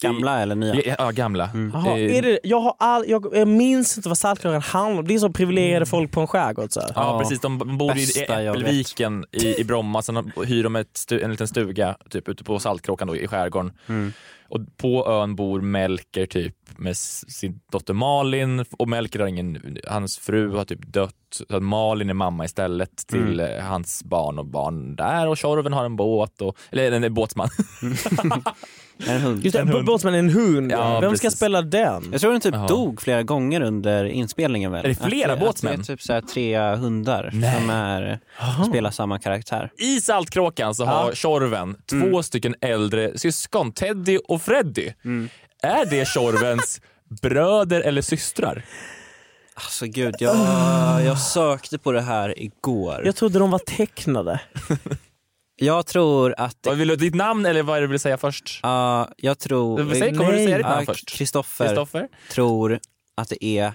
Speaker 8: Gamla eller nya?
Speaker 6: Ja, ja, gamla.
Speaker 9: Jaha,
Speaker 6: Eh,
Speaker 9: är det, jag, har all, jag, jag minns inte vad Saltkråkan handlar om. Det är som privilegierade folk på en skärgård. Så. här.
Speaker 6: Mm. Ja, precis, de bor i
Speaker 9: Bästa jag vet.
Speaker 6: Äppelviken i, i Bromma, sen hyr de ett stu, en liten stuga typ, ute på Saltkråkan då, i skärgården.
Speaker 9: Mm.
Speaker 6: Och på ön bor Melker typ med s- sin dotter Malin och Melker har ingen, hans fru har typ dött så att Malin är mamma istället till
Speaker 9: Mm.
Speaker 6: eh, hans barn och barn där och Tjorven har en båt, och, eller en, en båtsman. [laughs]
Speaker 8: En hund.
Speaker 9: Just det,
Speaker 8: En hund.
Speaker 9: Båtsman är en hund.
Speaker 8: Ja,
Speaker 9: Vem ska
Speaker 8: precis.
Speaker 9: spela den?
Speaker 8: Jag tror den typ
Speaker 9: Ja.
Speaker 8: dog flera gånger under inspelningen. Väl?
Speaker 9: Är det flera
Speaker 8: att,
Speaker 9: båtsmän?
Speaker 8: Att det är typ så här tre hundar som är, spelar samma karaktär.
Speaker 6: I Saltkråkan så har Tjorven två
Speaker 8: Mm.
Speaker 6: stycken äldre syskon, Teddy och Freddy.
Speaker 8: Mm.
Speaker 6: Är det
Speaker 8: [laughs]
Speaker 6: Tjorvens bröder eller systrar?
Speaker 8: Alltså gud, jag, jag sökte på det här igår.
Speaker 9: Jag trodde de var tecknade.
Speaker 8: Jag tror att... Det...
Speaker 6: Vill du ditt namn eller vad är det du vill säga först?
Speaker 8: Ja, jag tror...
Speaker 6: Säg- kommer du säga ditt namn
Speaker 8: Ja,
Speaker 6: först?
Speaker 8: Kristoffer
Speaker 6: Kristoffer?
Speaker 8: tror att det är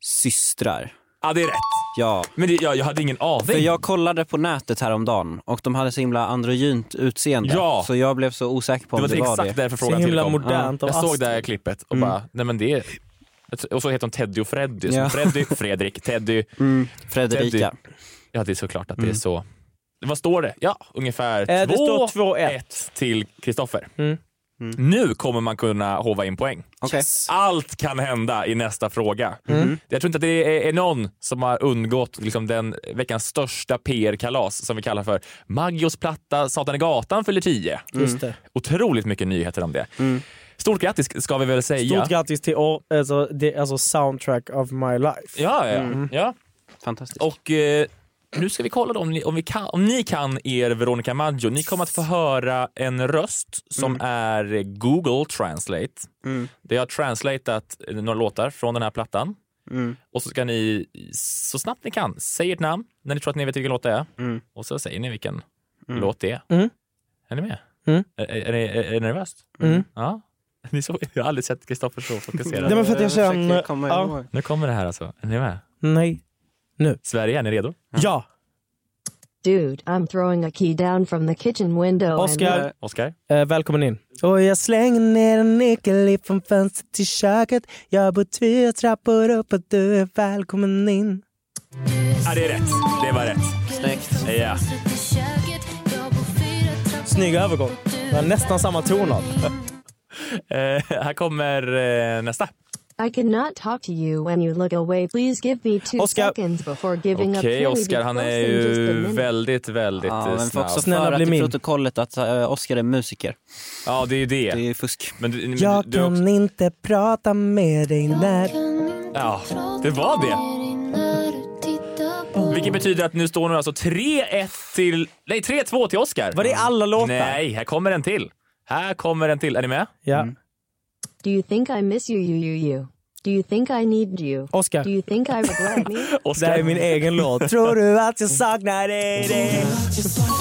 Speaker 8: systrar.
Speaker 6: Ja, det är rätt.
Speaker 8: Ja.
Speaker 6: Men jag, hade ingen aning.
Speaker 8: För jag kollade på nätet häromdagen och de hade så himla androgynt utseende.
Speaker 6: Ja.
Speaker 8: Så jag blev så osäker på
Speaker 6: Det
Speaker 8: om
Speaker 6: var
Speaker 8: det var det.
Speaker 6: exakt därför frågan tillkom. Ja. Jag såg det här klippet och
Speaker 8: Mm.
Speaker 6: bara, nej men det är... Och så heter de Teddy och Freddy.
Speaker 8: Ja.
Speaker 6: Så Freddy, Fredrik, Teddy,
Speaker 8: Mm.
Speaker 6: Fredrika.
Speaker 8: Fredrika.
Speaker 6: Ja, det är såklart att det är
Speaker 8: Mm. Äh,
Speaker 6: så. Vad står det? Ja, ungefär
Speaker 9: Eh, det står
Speaker 6: 2-1 till Kristoffer.
Speaker 9: Mm.
Speaker 6: Nu kommer man kunna hova in poäng. Allt kan hända i nästa fråga.
Speaker 9: Mm.
Speaker 6: Jag tror inte att det är- är någon som har undgått liksom, den veckans största PR-kalas som vi kallar för Maggios platta Satan i gatan fyller 10.
Speaker 9: Mm. Just det.
Speaker 6: Otroligt mycket nyheter om det. Stort grattis ska vi väl säga.
Speaker 9: Stort grattis till or- alltså, det, alltså soundtrack of my life.
Speaker 6: Ja, ja, ja.
Speaker 9: Mm.
Speaker 6: ja.
Speaker 8: Fantastiskt.
Speaker 6: Och eh, nu ska vi kolla då om ni, om, vi kan, om ni kan er Veronica Maggio. Ni kommer att få höra en röst som är Google Translate.
Speaker 8: Mm.
Speaker 6: Det har translatat eh, några låtar från den här plattan.
Speaker 8: Mm.
Speaker 6: Och så ska ni så snabbt ni kan säga ert namn när ni tror att ni vet vilken låt det är. Och så säger ni vilken
Speaker 8: Mm.
Speaker 6: låt det är.
Speaker 9: Mm.
Speaker 6: Är ni med?
Speaker 9: Mm.
Speaker 6: Är, är, ni- är, är ni nervöst?
Speaker 9: Mm.
Speaker 6: Ja. [laughs] Ni såg, jag har aldrig sett Kristoffer så fokuserad.
Speaker 9: Nej, men för att jag Jag försöker sen- komma
Speaker 8: komma
Speaker 9: ja.
Speaker 8: ihåg.
Speaker 6: Nu kommer det här alltså. Är ni med?
Speaker 9: Nej. Nu.
Speaker 6: Sverige, är ni redo?
Speaker 9: Ja!
Speaker 15: Dude, I'm throwing a key down from the kitchen window. and-
Speaker 9: Oscar.
Speaker 6: Oscar.
Speaker 9: Eh, välkommen in. Och jag slänger ner en nyckel ifrån fönstret till köket. Jag bor två trappor upp och du är välkommen in.
Speaker 6: Ja, det är rätt. Det var rätt.
Speaker 8: Snyggt.
Speaker 6: Ja.
Speaker 9: Snygg övergång. Det var nästan samma tonart.
Speaker 6: Eh, här kommer eh, nästa.
Speaker 15: I cannot talk to you when you look away. Please give me two
Speaker 6: Oscar.
Speaker 15: seconds before giving up.
Speaker 6: Okej,
Speaker 15: Can we be
Speaker 6: Oscar, han
Speaker 15: close
Speaker 6: är
Speaker 15: in just a
Speaker 6: ju
Speaker 15: minute?
Speaker 6: väldigt, väldigt
Speaker 8: Ja,
Speaker 6: eh,
Speaker 8: men får
Speaker 6: snabb.
Speaker 8: också föra till protokollet att uh, Oscar är musiker.
Speaker 6: Ja, det är ju det. Det
Speaker 8: är fusk.
Speaker 6: Men du, men
Speaker 9: Jag
Speaker 6: du, du,
Speaker 9: kan inte prata med dig när...
Speaker 6: ja, det var det. Vilket betyder att nu står nu alltså 3-1 till... Nej, 3-2 till Oscar. Var
Speaker 9: det alla låtar?
Speaker 6: Nej, här kommer en till. Här kommer en till. Är ni med?
Speaker 9: Ja.
Speaker 15: Do you think I miss you, you, you, you? Do you think I need you?
Speaker 9: Oscar.
Speaker 15: Do you think I regret me?
Speaker 9: Det här är min egen
Speaker 6: [laughs]
Speaker 9: låt. Tror du att jag saknar dig? dig?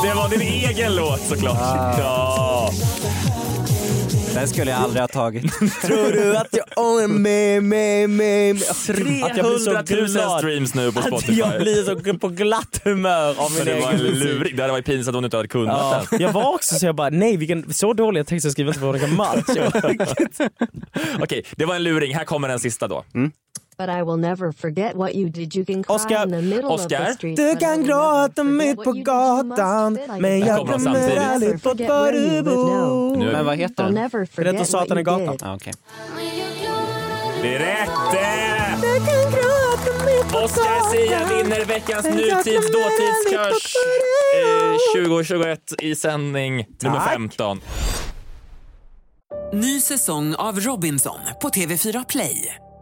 Speaker 6: Det var din egen låt såklart.
Speaker 8: Ah.
Speaker 6: Ja.
Speaker 8: Den skulle jag aldrig ha [laughs] tagit.
Speaker 9: Tror du att jag ångrar mig, mig, mig? mig? Att jag blir så
Speaker 6: 300 000
Speaker 9: glad.
Speaker 6: streams nu på
Speaker 9: Att
Speaker 6: Spotify.
Speaker 9: jag blir så på glatt humör av
Speaker 6: För
Speaker 9: min
Speaker 6: det var
Speaker 9: egen musik.
Speaker 6: lurig. Det hade varit pinsamt om du inte hade kunnat
Speaker 9: Ja.
Speaker 6: den.
Speaker 9: Jag var också så jag bara, nej vilken, så dåliga texter skriver inte Veronica Maggio.
Speaker 6: Okej, det var en luring. Här kommer den sista då.
Speaker 9: Mm.
Speaker 15: But I will never forget what you did. You can cry
Speaker 6: Oscar.
Speaker 15: in the middle of
Speaker 6: Oscar.
Speaker 15: the street.
Speaker 9: Du kan gråta mitt på gatan men
Speaker 15: Där
Speaker 9: jag
Speaker 15: kommer de
Speaker 9: glömmer
Speaker 15: samtidigt.
Speaker 9: aldrig bort var du bor.
Speaker 15: Nu är
Speaker 8: Men vad heter den?
Speaker 15: Never forget
Speaker 9: Berätta Satan i
Speaker 15: what you
Speaker 9: gatan.
Speaker 15: did.
Speaker 8: Ah, okay.
Speaker 6: Det är rätt!
Speaker 9: Oscar
Speaker 6: Sia vinner veckans nutids dåtidskurs eh, 2021 i sändning nummer
Speaker 1: Tack.
Speaker 6: 15.
Speaker 1: Ny säsong av Robinson på TV4 Play.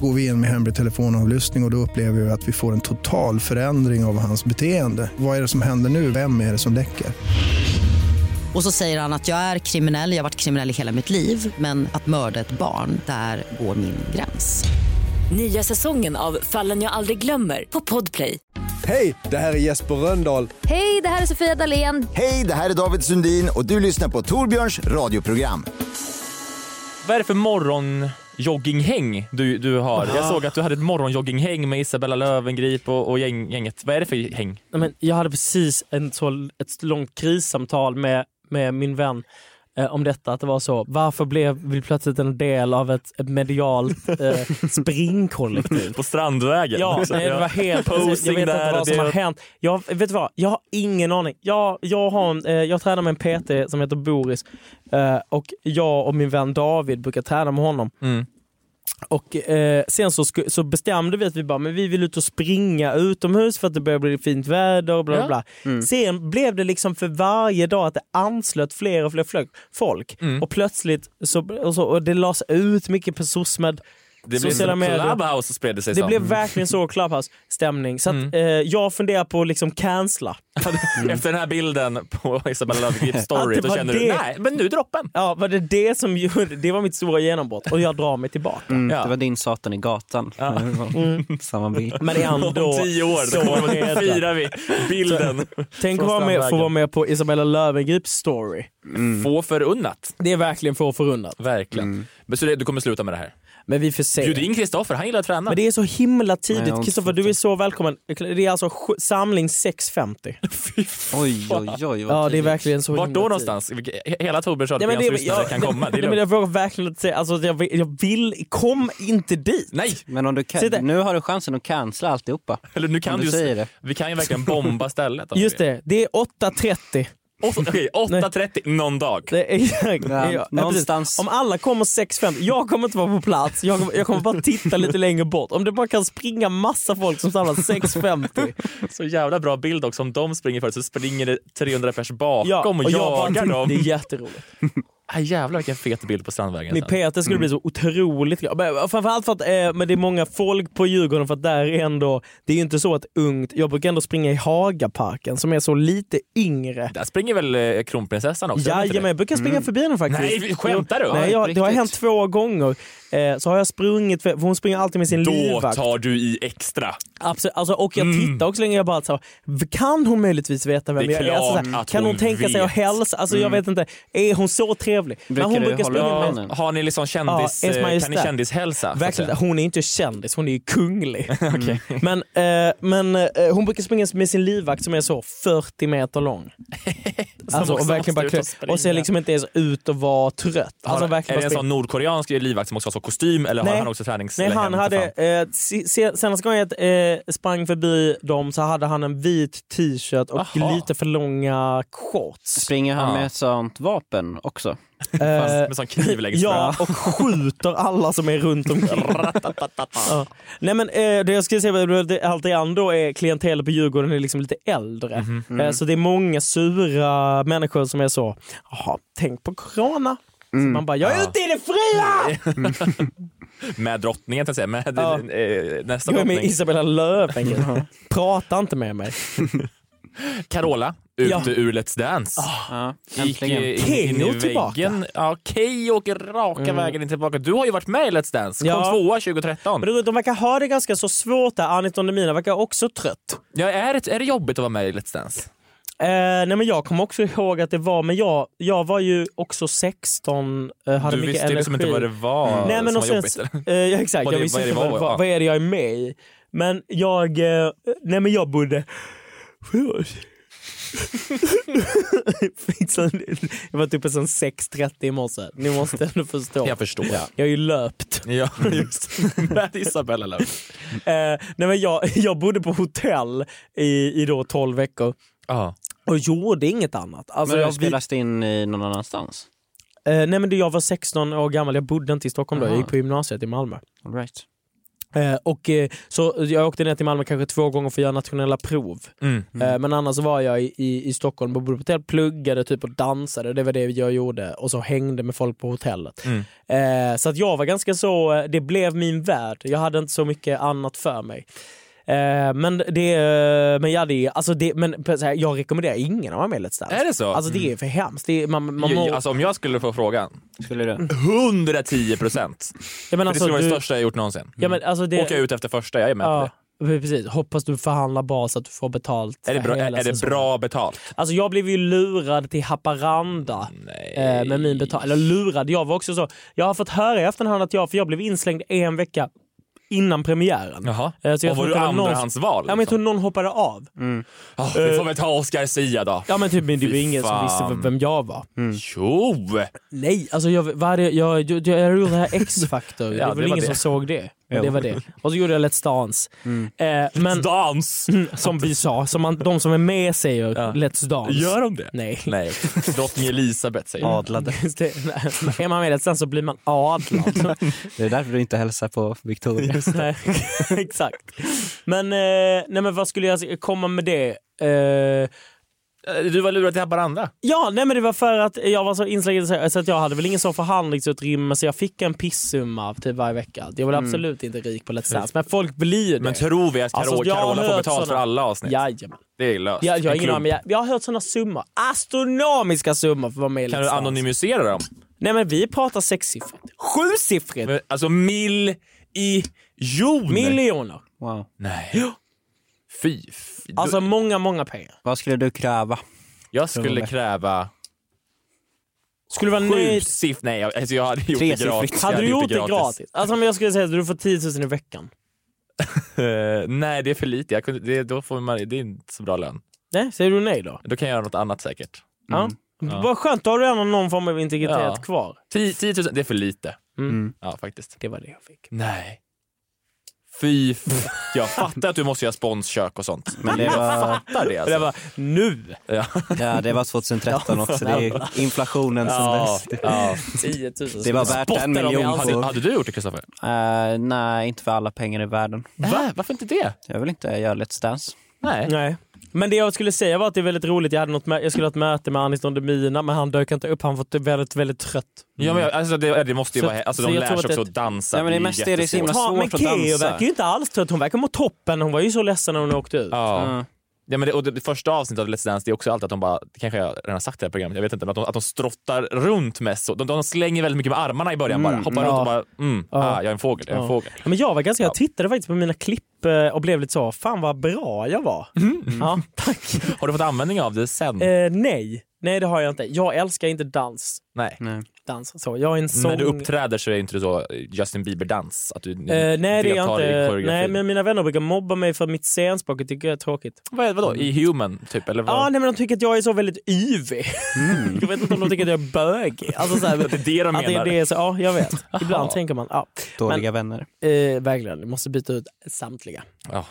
Speaker 16: Går vi in med hemlig telefonavlyssning och, och då upplever vi att vi får en total förändring av hans beteende. Vad är det som händer nu? Vem är det som läcker?
Speaker 17: Och så säger han att jag är kriminell, jag har varit kriminell i hela mitt liv men att mörda ett barn, där går min gräns.
Speaker 4: Nya säsongen av Fallen jag aldrig glömmer på Podplay.
Speaker 18: Hej, det här är Jesper Rönndahl.
Speaker 19: Hej, det här är Sofia Dalén.
Speaker 20: Hej, det här är David Sundin och du lyssnar på Torbjörns radioprogram.
Speaker 6: Vad är det för morgonjogginghäng du, du har? Jag
Speaker 9: Ja.
Speaker 6: såg att du hade ett morgonjogginghäng med Isabella Löwengrip och, och gäng, gänget. Vad är det för häng?
Speaker 9: Nej, men jag hade precis en så, ett långt krissamtal med, med min vän eh, om detta, att det var så, varför blev vi plötsligt en del av ett, ett medialt [laughs] eh, springkollektiv?
Speaker 6: På Strandvägen.
Speaker 9: [laughs] Ja, nej, det var helt... Jag vet inte vad som har hänt. Jag, vet du vad? Jag har ingen aning. Jag, jag, har en, eh, jag tränar med en PT som heter Boris eh, och jag och min vän David brukar träna med honom.
Speaker 6: Mm.
Speaker 9: Och eh, Sen så, sku- så bestämde vi att vi bara, men vi vill ut och springa utomhus för att det börjar bli fint väder. Och bla, bla,
Speaker 8: Ja.
Speaker 9: bla.
Speaker 8: Mm.
Speaker 9: Sen blev det liksom för varje dag att det anslöt fler och fler fl- folk.
Speaker 6: Mm.
Speaker 9: Och plötsligt så, och så, och det lades ut mycket på SOSMED.
Speaker 6: Det blev
Speaker 9: sociala
Speaker 6: som
Speaker 9: medier.
Speaker 6: Clubhouse och spred det Mm. sig
Speaker 9: Det
Speaker 6: som. [laughs]
Speaker 9: blev verkligen så Clubhouse-stämning. Så att, eh, jag funderar på att liksom cancella.
Speaker 6: Mm. Efter den här bilden på Isabella Löwengrips
Speaker 9: Att
Speaker 6: story,
Speaker 9: det
Speaker 6: då
Speaker 9: var
Speaker 6: känner
Speaker 9: det-
Speaker 6: du nej, men nu droppen.
Speaker 9: Ja, var det det som gjorde, det var mitt stora genombrott och jag drar mig tillbaka.
Speaker 8: Mm, Det var din Satan i gatan. [laughs]
Speaker 9: Mm.
Speaker 8: Samma
Speaker 6: [laughs]
Speaker 8: bild.
Speaker 9: Men är han då
Speaker 6: Om tio år,
Speaker 9: så
Speaker 6: då kommer vi-
Speaker 9: hetare?
Speaker 6: firar vi bilden.
Speaker 9: Tänk
Speaker 6: från
Speaker 9: att vara med, få
Speaker 6: Strandvägen.
Speaker 9: vara med på Isabella Löwengrips story.
Speaker 6: Mm. Få förunnat.
Speaker 9: Det är verkligen få förunnat.
Speaker 6: Verkligen.
Speaker 9: Mm.
Speaker 6: Men Så det, du kommer sluta med det här?
Speaker 9: Men vi får se.
Speaker 6: Bjud in Kristoffer, han gillar att träna.
Speaker 9: Men det är så himla
Speaker 6: Nej, jag har
Speaker 9: tidigt.
Speaker 6: inte
Speaker 9: Kristoffer, du är så välkommen. Det är alltså sj- samling 650.
Speaker 8: Oj, oj, oj.
Speaker 9: Ja, det är verkligen så
Speaker 6: Vart då
Speaker 9: himla tidigt.
Speaker 6: någonstans? Vilka- he- Hela Torbjörns
Speaker 9: Nej, men det-
Speaker 6: radioprogramslyssnare
Speaker 9: jag-
Speaker 6: kan komma.
Speaker 9: [laughs]
Speaker 6: Det är
Speaker 9: Nej, men
Speaker 6: lugnt.
Speaker 9: jag vågar verkligen inte säga, alltså, jag, vill- jag vill, kom inte dit.
Speaker 6: Nej.
Speaker 8: Men om du kan,
Speaker 9: Sitta-
Speaker 8: nu har du chansen att cancella alltihopa.
Speaker 6: Eller nu kan
Speaker 8: om
Speaker 6: du
Speaker 8: du
Speaker 6: just-
Speaker 8: säger det.
Speaker 6: Vi kan ju verkligen bomba stället. om
Speaker 9: Just
Speaker 6: vi-
Speaker 9: det, det är 8.30.
Speaker 6: Åtta- Okej, 8.30 någon dag.
Speaker 9: Det är, [laughs] exakt.
Speaker 6: Ja,
Speaker 9: Ja,
Speaker 6: någonstans.
Speaker 9: precis. Om alla kommer 6.50, jag kommer inte vara på plats, jag kommer, jag kommer bara titta lite längre bort. Om det bara kan springa massa folk som samlas 6.50.
Speaker 6: Så jävla bra bild också. Om de springer förut så springer det 300 pers bakom
Speaker 9: Ja,
Speaker 6: och,
Speaker 9: och jag
Speaker 6: jagar
Speaker 9: bara [laughs] tittar.
Speaker 6: dem.
Speaker 9: Det är jätteroligt.
Speaker 6: Ah, jävlar vilken fet bild på Strandvägen.
Speaker 9: Ni
Speaker 6: sen.
Speaker 9: Peter skulle bli så
Speaker 6: Mm.
Speaker 9: otroligt glad. Men Framförallt för att eh, men det är många folk på Djurgården för att där är ändå, det är ju inte så att ungt, jag brukar ändå springa i Hagaparken som är så lite yngre.
Speaker 6: Där springer väl eh, kronprinsessan också? gör den inte
Speaker 9: Jajamän,
Speaker 6: det?
Speaker 9: jag brukar springa
Speaker 6: Mm.
Speaker 9: förbi henne faktiskt.
Speaker 6: Nej, vi- skämtar du?
Speaker 9: Nej, jag, det har
Speaker 6: Riktigt.
Speaker 9: hänt två gånger. Eh, så har jag sprungit, för för hon springer alltid med sin
Speaker 6: Då
Speaker 9: livvakt.
Speaker 6: tar du i extra.
Speaker 9: Absolut. Alltså, och jag tittar också länge, jag bara så, kan hon möjligtvis veta vem
Speaker 6: Det är
Speaker 9: jag är? Alltså,
Speaker 6: klart
Speaker 9: så här,
Speaker 6: att
Speaker 9: kan hon,
Speaker 6: hon
Speaker 9: tänka sig att
Speaker 6: vet.
Speaker 9: hälsa? Alltså, Jag
Speaker 6: Mm.
Speaker 9: vet inte, är hon så trevlig? Men hon med-
Speaker 6: Har ni liksom kändis...
Speaker 9: Ja, Ens
Speaker 6: eh, kan ni
Speaker 9: Majestät.
Speaker 6: kändishälsa? så att
Speaker 9: Verkligen,
Speaker 6: säga?
Speaker 9: hon är inte kändis, hon är ju
Speaker 6: [laughs]
Speaker 9: kunglig. Mm. Men, eh, men eh, hon brukar springa med sin livvakt som är så 40 meter lång.
Speaker 6: Som
Speaker 9: alltså, och
Speaker 6: också
Speaker 9: verkligen bara
Speaker 6: måste ut och
Speaker 9: klä- och ser
Speaker 6: springa.
Speaker 9: liksom inte ens ut att vara trött. Alltså,
Speaker 6: har, är
Speaker 9: verkligen
Speaker 6: det en sån
Speaker 9: bara springa.
Speaker 6: nordkoreansk livvakt som också har så kostym eller har han också tränings...
Speaker 9: Nej,
Speaker 6: eller
Speaker 9: han
Speaker 6: hem för
Speaker 9: hade,
Speaker 6: fan?
Speaker 9: eh, si- se- senaste gången jag eh, eh, sprang förbi dem så hade han en vit t-shirt och
Speaker 8: Aha.
Speaker 9: lite för långa shorts.
Speaker 8: Springer han
Speaker 9: Ja.
Speaker 8: med ett sånt vapen också?
Speaker 9: Eh,
Speaker 8: sån kniv längst
Speaker 9: Ja,
Speaker 8: fram.
Speaker 9: och skjuter alla som är runt omkring. ja. Nej men eh, det jag skulle säga var att allt det andra då är klientelet på Djurgården är liksom lite äldre.
Speaker 8: Mhm.
Speaker 9: Eh, så det är många sura människor som är så, jaha, tänk på corona. Så man bara, jag är
Speaker 6: Ja.
Speaker 9: ute i det fria!
Speaker 6: Med drottningen, så att säga. Med
Speaker 9: Ja.
Speaker 6: eh, nästa
Speaker 9: Jag är med
Speaker 6: drottning.
Speaker 9: Isabella Löfven. Prata inte med mig.
Speaker 6: Carola, ute
Speaker 9: Ja. Ah,
Speaker 6: ur Let's Dance. Gick eh, in, in
Speaker 9: Keyyo
Speaker 6: i väggen.
Speaker 9: tillbaka.
Speaker 6: Ja, Keyyo åker raka
Speaker 9: Mm.
Speaker 6: vägen in tillbaka. Du har ju varit med i Let's Dance. Kom
Speaker 9: Ja.
Speaker 6: tvåa 2013.
Speaker 9: Men du, de verkar ha det ganska så svårt där. Anton Demina verkar också trött.
Speaker 6: Ja, är, det, är det jobbigt att vara med i Let's Dance?
Speaker 9: Eh, nej men jag kommer också ihåg att det var, men jag, jag var ju också 16, eh, hade
Speaker 6: Du
Speaker 9: mycket
Speaker 6: visste
Speaker 9: energi.
Speaker 6: liksom inte vad det var
Speaker 9: nej,
Speaker 6: som
Speaker 9: men
Speaker 6: var
Speaker 9: och sen,
Speaker 6: jobbigt, [laughs]
Speaker 9: eh,
Speaker 6: eller?
Speaker 9: ja, exakt,
Speaker 6: Vad
Speaker 9: jag
Speaker 6: det-
Speaker 9: visste
Speaker 6: vad är det
Speaker 9: inte vad,
Speaker 6: var,
Speaker 9: vad,
Speaker 6: ja.
Speaker 9: vad är det jag är med i. Men jag, eh, nej men jag bodde sju år sedan. Fick sån- jag var typ sen 6.30 i morse. Ni måste ändå förstå.
Speaker 6: Jag förstår.
Speaker 9: Ja. Jag har ju löpt.
Speaker 6: Ja, just Med Isabella Löf.
Speaker 9: Eh, nej men jag, jag bodde på hotell i, i då 12 veckor och gjorde inget annat. Alltså,
Speaker 8: men
Speaker 9: jag,
Speaker 8: jag spelas det in i någon annanstans?
Speaker 9: vi- eh, nej men det- jag var 16 år gammal, jag bodde inte i Stockholm då, jag
Speaker 8: Aha.
Speaker 9: gick på gymnasiet i Malmö.
Speaker 8: All right.
Speaker 9: Eh, och, eh, så jag åkte ner till Malmö kanske två gånger för att göra nationella prov.
Speaker 6: Mm.
Speaker 9: Eh, men annars så var jag i, i, i Stockholm och bodde på hotell, pluggade typ och dansade, det var det jag gjorde. Och så hängde med folk på hotellet.
Speaker 6: Mm.
Speaker 9: Eh, så att jag var ganska så, eh, det blev min värld. Jag hade inte så mycket annat för mig. Eh, men det, eh, men ja det, alltså det, men på så här, jag rekommenderar ingen att vara med i Let's Dance.
Speaker 6: Är det så?
Speaker 9: Alltså det är
Speaker 6: Mm.
Speaker 9: för hemskt. Det är, man, man
Speaker 6: Ju-
Speaker 9: mår-
Speaker 6: Alltså om jag skulle få frågan.
Speaker 8: Skulle
Speaker 6: Mm.
Speaker 8: du?
Speaker 6: 110 procent.
Speaker 9: Ja, men
Speaker 6: det
Speaker 9: alltså,
Speaker 6: skulle vara det
Speaker 9: du-
Speaker 6: största jag gjort någonsin.
Speaker 9: Ja, men alltså det-
Speaker 6: Åker jag ut efter första, jag är med på
Speaker 9: ja, precis. Hoppas du förhandlar bra så att du får betalt
Speaker 6: det. Är det,
Speaker 9: för
Speaker 6: bra, är,
Speaker 9: hela
Speaker 6: är det
Speaker 9: säsongen.
Speaker 6: bra betalt?
Speaker 9: Alltså jag blev ju lurad till Haparanda eh, med min betal... Eller lurad, jag var också så. Jag har fått höra i efterhand att jag, för jag blev inslängd en vecka innan premiären.
Speaker 6: Jaha.
Speaker 9: Eh, så jag
Speaker 6: och var
Speaker 9: tror
Speaker 6: du
Speaker 9: att det var någon-
Speaker 6: andrahandsval?
Speaker 9: Ja men jag tror någon hoppade av.
Speaker 6: Mm. Ah, vi får väl ta Oscar Sia då.
Speaker 9: Ja men typ, men det var
Speaker 6: Fy
Speaker 9: ingen som
Speaker 6: fan.
Speaker 9: visste v- vem jag var.
Speaker 6: Mm. Jo!
Speaker 9: Nej, alltså jag, varje, jag, jag, jag gjorde det här
Speaker 6: [laughs]
Speaker 9: X-Factor, det
Speaker 6: Ja,
Speaker 9: var
Speaker 6: det
Speaker 9: väl
Speaker 6: var
Speaker 9: ingen
Speaker 6: det.
Speaker 9: som såg det.
Speaker 6: Jo. Mm.
Speaker 9: Men det var det. Och så gjorde jag Let's Dance. Eh, men, Mm.
Speaker 6: Dance!
Speaker 9: Som vi sa, som man, de som är med säger Let's Dance.
Speaker 6: Gör de det?
Speaker 9: Nej.
Speaker 6: Nej. [laughs] Drottning Elisabeth säger
Speaker 9: [laughs] Just det. Nej, är man med i Let's Dance så blir man
Speaker 6: [laughs]
Speaker 9: adlad.
Speaker 8: Det är därför du inte hälsar på Victoria.
Speaker 9: Nej, [laughs] Exakt. Men, eh, nej, men vad skulle jag komma med det? Eh,
Speaker 6: Du var lurad till Haparanda.
Speaker 9: Ja, nej men det var för att jag var så inslängd så- så att jag hade väl ingen sån förhandlingsutrymme så jag fick en pissumma typ varje vecka. Jag var
Speaker 6: Mm.
Speaker 9: absolut inte rik på Let's Dance, men folk blir ju det.
Speaker 6: Men tror vi att Carola,
Speaker 9: Alltså, jag har
Speaker 6: Carola får
Speaker 9: hört
Speaker 6: betalt för
Speaker 9: såna-
Speaker 6: alla avsnitt?
Speaker 9: Jajamän.
Speaker 6: Det är löst.
Speaker 9: Jag, jag, har
Speaker 6: En
Speaker 9: ingen
Speaker 6: klump.
Speaker 9: aning, men jag, jag har hört sådana summor. Astronomiska summor för att vara med i
Speaker 6: Kan
Speaker 9: Let's
Speaker 6: du
Speaker 9: Dance.
Speaker 6: anonymisera dem?
Speaker 9: Nej men vi pratar sexsiffrigt. Sjusiffrigt!
Speaker 6: Men, Alltså mil i jon.
Speaker 9: Miljoner.
Speaker 8: Wow.
Speaker 6: Nej. Fy. fy.
Speaker 9: Alltså många, många pengar.
Speaker 8: Vad skulle du kräva?
Speaker 6: Jag skulle kräva
Speaker 9: Skulle du vara
Speaker 6: sju
Speaker 9: nöjd?
Speaker 6: siff... Nej, jag- alltså jag hade gjort det
Speaker 9: Tresiffrigt.
Speaker 6: gratis. Jag
Speaker 9: Hade du gjort det
Speaker 6: inte
Speaker 9: gratis? Alltså om jag skulle säga att du får 10 000 i veckan.
Speaker 6: Eh, nej, det är för lite. Jag kunde, det, då får man, det är inte så bra lön.
Speaker 9: Nej, säger du nej då?
Speaker 6: Då kan jag göra något annat säkert.
Speaker 9: Mm. Ja.
Speaker 6: Ja.
Speaker 9: Vad skönt, då har du ändå någon form av integritet
Speaker 6: Ja.
Speaker 9: kvar.
Speaker 6: 10, 10 000, det är för lite.
Speaker 9: Mm.
Speaker 6: Ja, faktiskt.
Speaker 9: Det var det jag fick.
Speaker 6: Nej. Fy f- Jag fattar att du måste göra sponskök och sånt. Men
Speaker 8: det var-
Speaker 6: Jag fattar det. Alltså.
Speaker 8: Det var
Speaker 9: nu.
Speaker 6: Ja.
Speaker 8: Ja, det var 2013 också. Det är inflationen sen
Speaker 6: Ja,
Speaker 8: dess.
Speaker 6: ja.
Speaker 9: 10 000.
Speaker 8: Det var värt
Speaker 6: Spottar
Speaker 8: en
Speaker 6: de i
Speaker 8: miljon.
Speaker 6: ansiktet. Hade du gjort det, Kristoffer?
Speaker 8: Eh, nej, inte för alla pengar i världen.
Speaker 6: Va? Varför inte det?
Speaker 8: Jag vill inte göra Let's Dance.
Speaker 6: Nej.
Speaker 9: Nej. Men det jag skulle säga var att det är väldigt roligt. Jag, hade något mö- jag skulle ha ett möte med Anis Don Demina men han dök inte upp. Han var väldigt, väldigt trött.
Speaker 6: Ja, men jag, alltså det, det måste ju
Speaker 9: Så-
Speaker 6: vara... Alltså
Speaker 9: så
Speaker 6: de
Speaker 9: jag
Speaker 6: lär sig
Speaker 9: tror att
Speaker 6: också
Speaker 9: det-
Speaker 6: att dansa.
Speaker 8: Nej, men det mesta är det
Speaker 6: jättesvårt.
Speaker 8: så himla
Speaker 9: Ta- men Keyyo verkar ju inte alls trött. Hon verkar må toppen. Hon var ju så ledsen när hon åkte ut.
Speaker 6: Ja.
Speaker 9: Mm.
Speaker 6: Ja, men det, och det, det första avsnittet av Let's Dance det är också alltid att de bara, det kanske jag redan har sagt i det här programmet, jag vet inte, men att de, att de strottar runt mest. så- De, de slänger väldigt mycket med armarna i början bara.
Speaker 9: Mm,
Speaker 6: Hoppar
Speaker 9: ja.
Speaker 6: runt och bara, mm,
Speaker 9: Ja.
Speaker 6: ah, jag är en fågel, jag är en
Speaker 9: Ja. [laughs]
Speaker 6: fågel.
Speaker 9: Ja, Men jag var ganska, jag tittade faktiskt på mina klipp eh, och blev lite så, fan vad bra jag var. Ja, tack.
Speaker 6: Har du fått användning av det sen?
Speaker 9: Eh, nej, nej det har jag inte. Jag älskar inte dans.
Speaker 6: Nej.
Speaker 9: dans och så. Jag är en sång...
Speaker 6: När du uppträder så är det inte så eh, Justin Bieber-dans? Att du
Speaker 9: Eh, nej, det är jag
Speaker 6: deltar i
Speaker 9: inte. Nej,
Speaker 6: koreografin?
Speaker 9: men mina vänner brukar mobba mig för mitt scenspråk. Det tycker jag är tråkigt.
Speaker 6: Vad, vadå, i Human typ? Eller vad?
Speaker 9: mm.
Speaker 6: Mm.
Speaker 9: Ja, nej, men de tycker att jag är så väldigt yvig. [laughs] Jag vet inte om de tycker att jag är bögig. Alltså, så
Speaker 6: [laughs]
Speaker 9: här,
Speaker 6: Att det är det de
Speaker 9: att det är
Speaker 6: menar.
Speaker 9: det, så, ja, jag vet.
Speaker 6: [laughs]
Speaker 9: Ibland tänker man. Ja.
Speaker 8: Dåliga vänner.
Speaker 9: Men, eh, verkligen, du måste byta ut samtliga.
Speaker 6: Ja.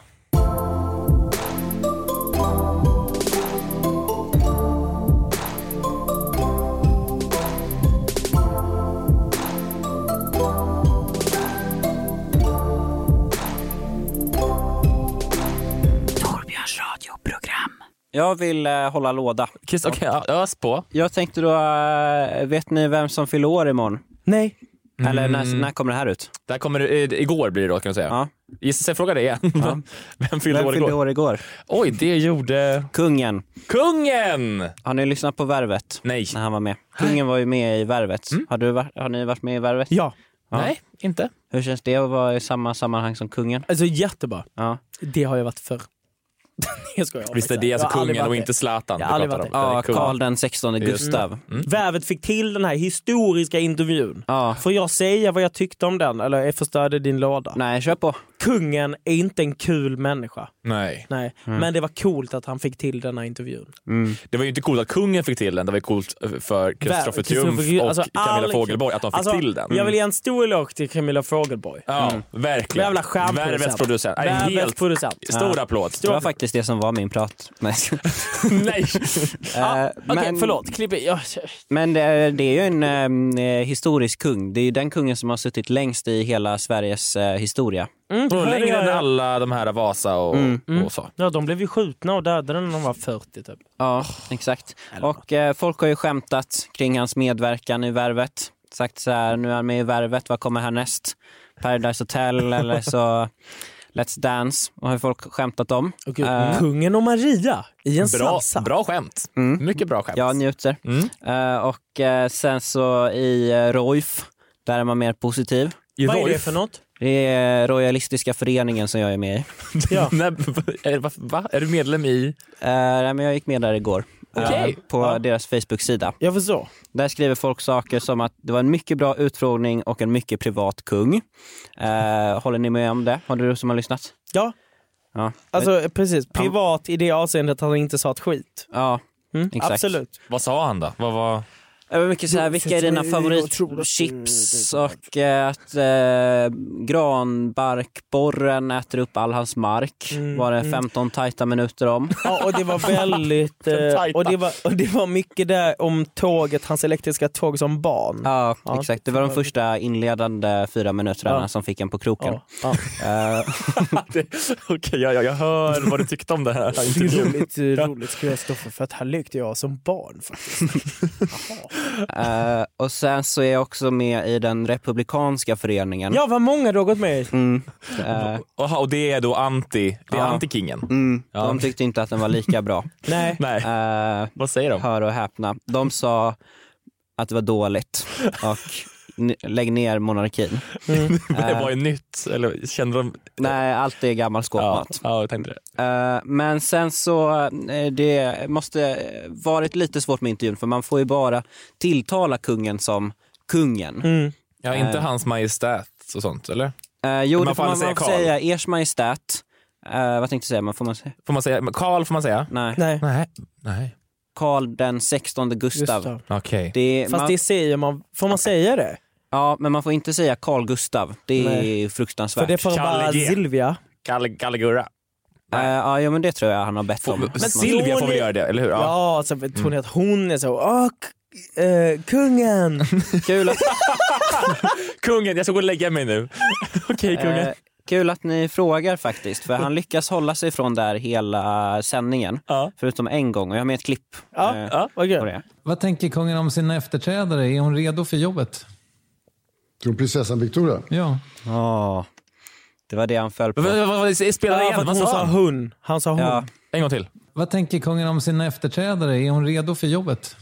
Speaker 8: Jag vill eh, hålla låda.
Speaker 6: Chris, okej, ös på.
Speaker 8: Jag tänkte då, eh, vet ni vem som fyller år imorgon?
Speaker 9: Nej.
Speaker 8: Eller när,
Speaker 6: Mm.
Speaker 8: när kommer det här ut?
Speaker 6: Där kommer det, eh, igår blir det då kan man säga. Ja. Gissa, jag frågar dig igen. [laughs] Vem fyllde
Speaker 8: Vem
Speaker 6: år
Speaker 8: fyllde
Speaker 6: igår?
Speaker 8: år igår?
Speaker 6: Oj, det gjorde...
Speaker 8: Kungen.
Speaker 6: Kungen!
Speaker 8: Har ni lyssnat på Värvet?
Speaker 6: Nej.
Speaker 8: När han var med. Kungen var ju med i Värvet. Har, du, varit- har ni varit med i Värvet?
Speaker 9: Ja.
Speaker 6: Nej, inte.
Speaker 8: Hur känns det att vara i samma sammanhang som kungen?
Speaker 9: Alltså jättebra.
Speaker 8: Ja.
Speaker 9: Det har jag varit förr. [laughs] jag skojar.
Speaker 6: Visst är det
Speaker 9: Jag har
Speaker 6: alltså
Speaker 9: aldrig
Speaker 6: kungen
Speaker 9: varit
Speaker 6: och
Speaker 9: det.
Speaker 6: inte Zlatan
Speaker 9: Jag
Speaker 6: vi
Speaker 9: har aldrig
Speaker 6: pratar
Speaker 9: varit
Speaker 6: om?
Speaker 9: det.
Speaker 6: Det är
Speaker 9: Ja,
Speaker 6: kungen.
Speaker 9: Karl
Speaker 8: den 16
Speaker 6: Just det.
Speaker 8: Gustav.
Speaker 6: Mm.
Speaker 9: Vävet fick till den här historiska intervjun. Får jag säga vad jag tyckte om den eller förstörde din låda?
Speaker 8: Nej, kör på.
Speaker 9: Kungen är inte en kul människa.
Speaker 6: Nej.
Speaker 9: Nej.
Speaker 6: Mm.
Speaker 9: Men det var coolt att han fick till den här intervjun.
Speaker 6: Det var ju inte coolt att kungen fick till den, det var ju coolt eh, för Kristoffer
Speaker 9: Väl-
Speaker 6: Triumf
Speaker 9: Christopher-
Speaker 6: och
Speaker 9: alltså,
Speaker 6: Camilla
Speaker 9: all-
Speaker 6: Fogelborg att de fick
Speaker 9: alltså,
Speaker 6: till den.
Speaker 9: Jag vill ge en stor eloge till Camilla Fogelborg.
Speaker 6: Ja, verkligen.
Speaker 9: Jävla stjärnproducent.
Speaker 6: Värvets producent. Nej,
Speaker 9: Värvets
Speaker 6: helt-
Speaker 9: producent.
Speaker 6: Stor applåd.
Speaker 8: Det var faktiskt det som var min prat. [laughs] Nej.
Speaker 6: Nej!
Speaker 8: Eh,
Speaker 9: Okej, förlåt. Klipp i. Ja.
Speaker 8: Men det är, det är ju en ehm, eh, historisk kung. Det är ju den kungen som har suttit längst i hela Sveriges eh, historia.
Speaker 9: Mm,
Speaker 6: Och
Speaker 9: hörde
Speaker 6: längre
Speaker 9: jag-
Speaker 6: än alla de här Vasa och,
Speaker 8: Mm.
Speaker 6: och så.
Speaker 9: Ja, de blev ju skjutna och dödade när de var 40 typ.
Speaker 8: Ja, Oh, exakt. Och eh, folk har ju skämtat kring hans medverkan i Värvet. Sagt så här, nu är han med i Värvet, vad kommer härnäst? Paradise Hotel eller så Let's Dance. Och har folk skämtat om.
Speaker 9: Och gud, Mm.
Speaker 8: Eh,
Speaker 9: Kungen och Maria i
Speaker 8: Bra-
Speaker 9: en salsa.
Speaker 6: Bra skämt. Mycket bra skämt.
Speaker 8: Jag mm. njuter. Eh, och eh, sen så i eh, Roif, där är man mer positiv.
Speaker 9: I Vad är Roif? det för [laughs] något?
Speaker 8: Det är Royalistiska föreningen som jag är med i.
Speaker 9: Ja.
Speaker 6: [laughs] Nej, är, va, va? är du medlem i?
Speaker 8: Eh, nej, men jag gick med där igår.
Speaker 6: Okej.
Speaker 8: Eh, på deras Facebook-sida.
Speaker 9: Jag förstår.
Speaker 8: Där skriver folk saker som att det var en mycket bra utfrågning och en mycket privat kung. Eh, håller ni med om det? Har du som har lyssnat?
Speaker 9: Ja.
Speaker 8: ja.
Speaker 9: Alltså precis, privat i det avseendet att han inte sa ett skit. Mm.
Speaker 8: Ja, exakt.
Speaker 9: absolut.
Speaker 6: Vad sa han då? Vad var...
Speaker 8: Det var mycket så här, vilka är dina favoritchips och eh, att eh, granbarkborren äter upp all hans mark. var det
Speaker 9: mm.
Speaker 8: 15 tajta minuter om.
Speaker 9: Ja, och det var väldigt...
Speaker 8: Den
Speaker 9: Eh,
Speaker 8: tajta.
Speaker 9: och, det var, och det var mycket där om tåget, hans elektriska tåg som barn.
Speaker 8: Ja, [laughs] exakt. Det var de första inledande fyra minuterna
Speaker 9: Ja.
Speaker 8: som fick en på kroken.
Speaker 9: Ja.
Speaker 8: Eh,
Speaker 6: [laughs] Det- Okej, jag, jag, jag hör vad du tyckte om det [laughs] här.
Speaker 9: Det är roligt, eh, roligt Kristoffer, för att här lekte jag som barn faktiskt.
Speaker 8: eh, och sen så är jag också med i den republikanska föreningen.
Speaker 9: Ja, vad många du har gått med i.
Speaker 8: Mm. Eh,
Speaker 6: Jaha, och det är då anti, det är
Speaker 8: Ja.
Speaker 6: anti-kingen?
Speaker 8: Mm.
Speaker 6: Ja.
Speaker 8: De tyckte inte att den var lika bra.
Speaker 9: Nej.
Speaker 6: Nej.
Speaker 8: Eh,
Speaker 6: Vad säger de?
Speaker 8: Hör och häpna. De sa att det var dåligt och n- lägg ner monarkin.
Speaker 6: [laughs] det var ju nytt, eller kände de?
Speaker 8: Nej, allt är gammal skåpmat.
Speaker 6: Ja, jag tänkte det.
Speaker 8: Eh, men sen så, eh, det måste eh, varit lite svårt med intervjun för man får ju bara tilltala kungen som kungen.
Speaker 6: Mm. Ja, inte
Speaker 8: Eh.
Speaker 6: hans majestät och sånt, eller?
Speaker 8: Eh, jo,
Speaker 6: Man
Speaker 8: det
Speaker 6: får
Speaker 8: får man,
Speaker 6: aldrig
Speaker 8: man får
Speaker 6: säga Karl.
Speaker 8: säga ers majestät. Eh, vad tänkte jag säga? Man får man säga?
Speaker 6: Får man säga, men Karl får man säga?
Speaker 8: Nej.
Speaker 9: Nej.
Speaker 6: Nej. Nej.
Speaker 8: Karl den 16 Gustav.
Speaker 9: Gustav.
Speaker 6: Okej.
Speaker 8: Det,
Speaker 9: Fast det säger man, får man säga det?
Speaker 8: Ja, men man får inte säga Carl Gustav. Det är
Speaker 9: Nej.
Speaker 8: fruktansvärt.
Speaker 9: För det får
Speaker 8: Kalle
Speaker 9: bara
Speaker 8: G.
Speaker 9: Silvia.
Speaker 6: Kalle, Kalle Gurra.
Speaker 8: Eh, ja, ja, men det tror jag han har bett om.
Speaker 6: Men
Speaker 8: Att man-
Speaker 6: Silvia får väl göra det, eller hur?
Speaker 9: Ja, alltså, tror ni att hon är så, åh, k- eh, kungen.
Speaker 6: [laughs]
Speaker 8: Kul att,
Speaker 6: Kungen, jag ska gå och lägga mig nu. Okej, kungen.
Speaker 8: eh, kul att ni frågar faktiskt, för han lyckas hålla sig från där hela sändningen. Förutom en gång, och jag har med ett klipp. eh,
Speaker 9: Ja, ja, vad
Speaker 8: det.
Speaker 13: Vad tänker kungen om sina efterträdare? Är hon redo för jobbet?
Speaker 21: Kronprinsessan Victoria?
Speaker 13: Ja.
Speaker 8: Ja, det var det han föll på.
Speaker 6: Vad- vad- vad- Spela
Speaker 9: Ja,
Speaker 6: igen,
Speaker 9: för att
Speaker 6: vad
Speaker 9: hon
Speaker 6: sa
Speaker 9: sa
Speaker 6: han?
Speaker 9: hon. Han sa hon.
Speaker 6: Ja. En gång till.
Speaker 13: Vad tänker kungen om sina efterträdare? Är hon redo för jobbet?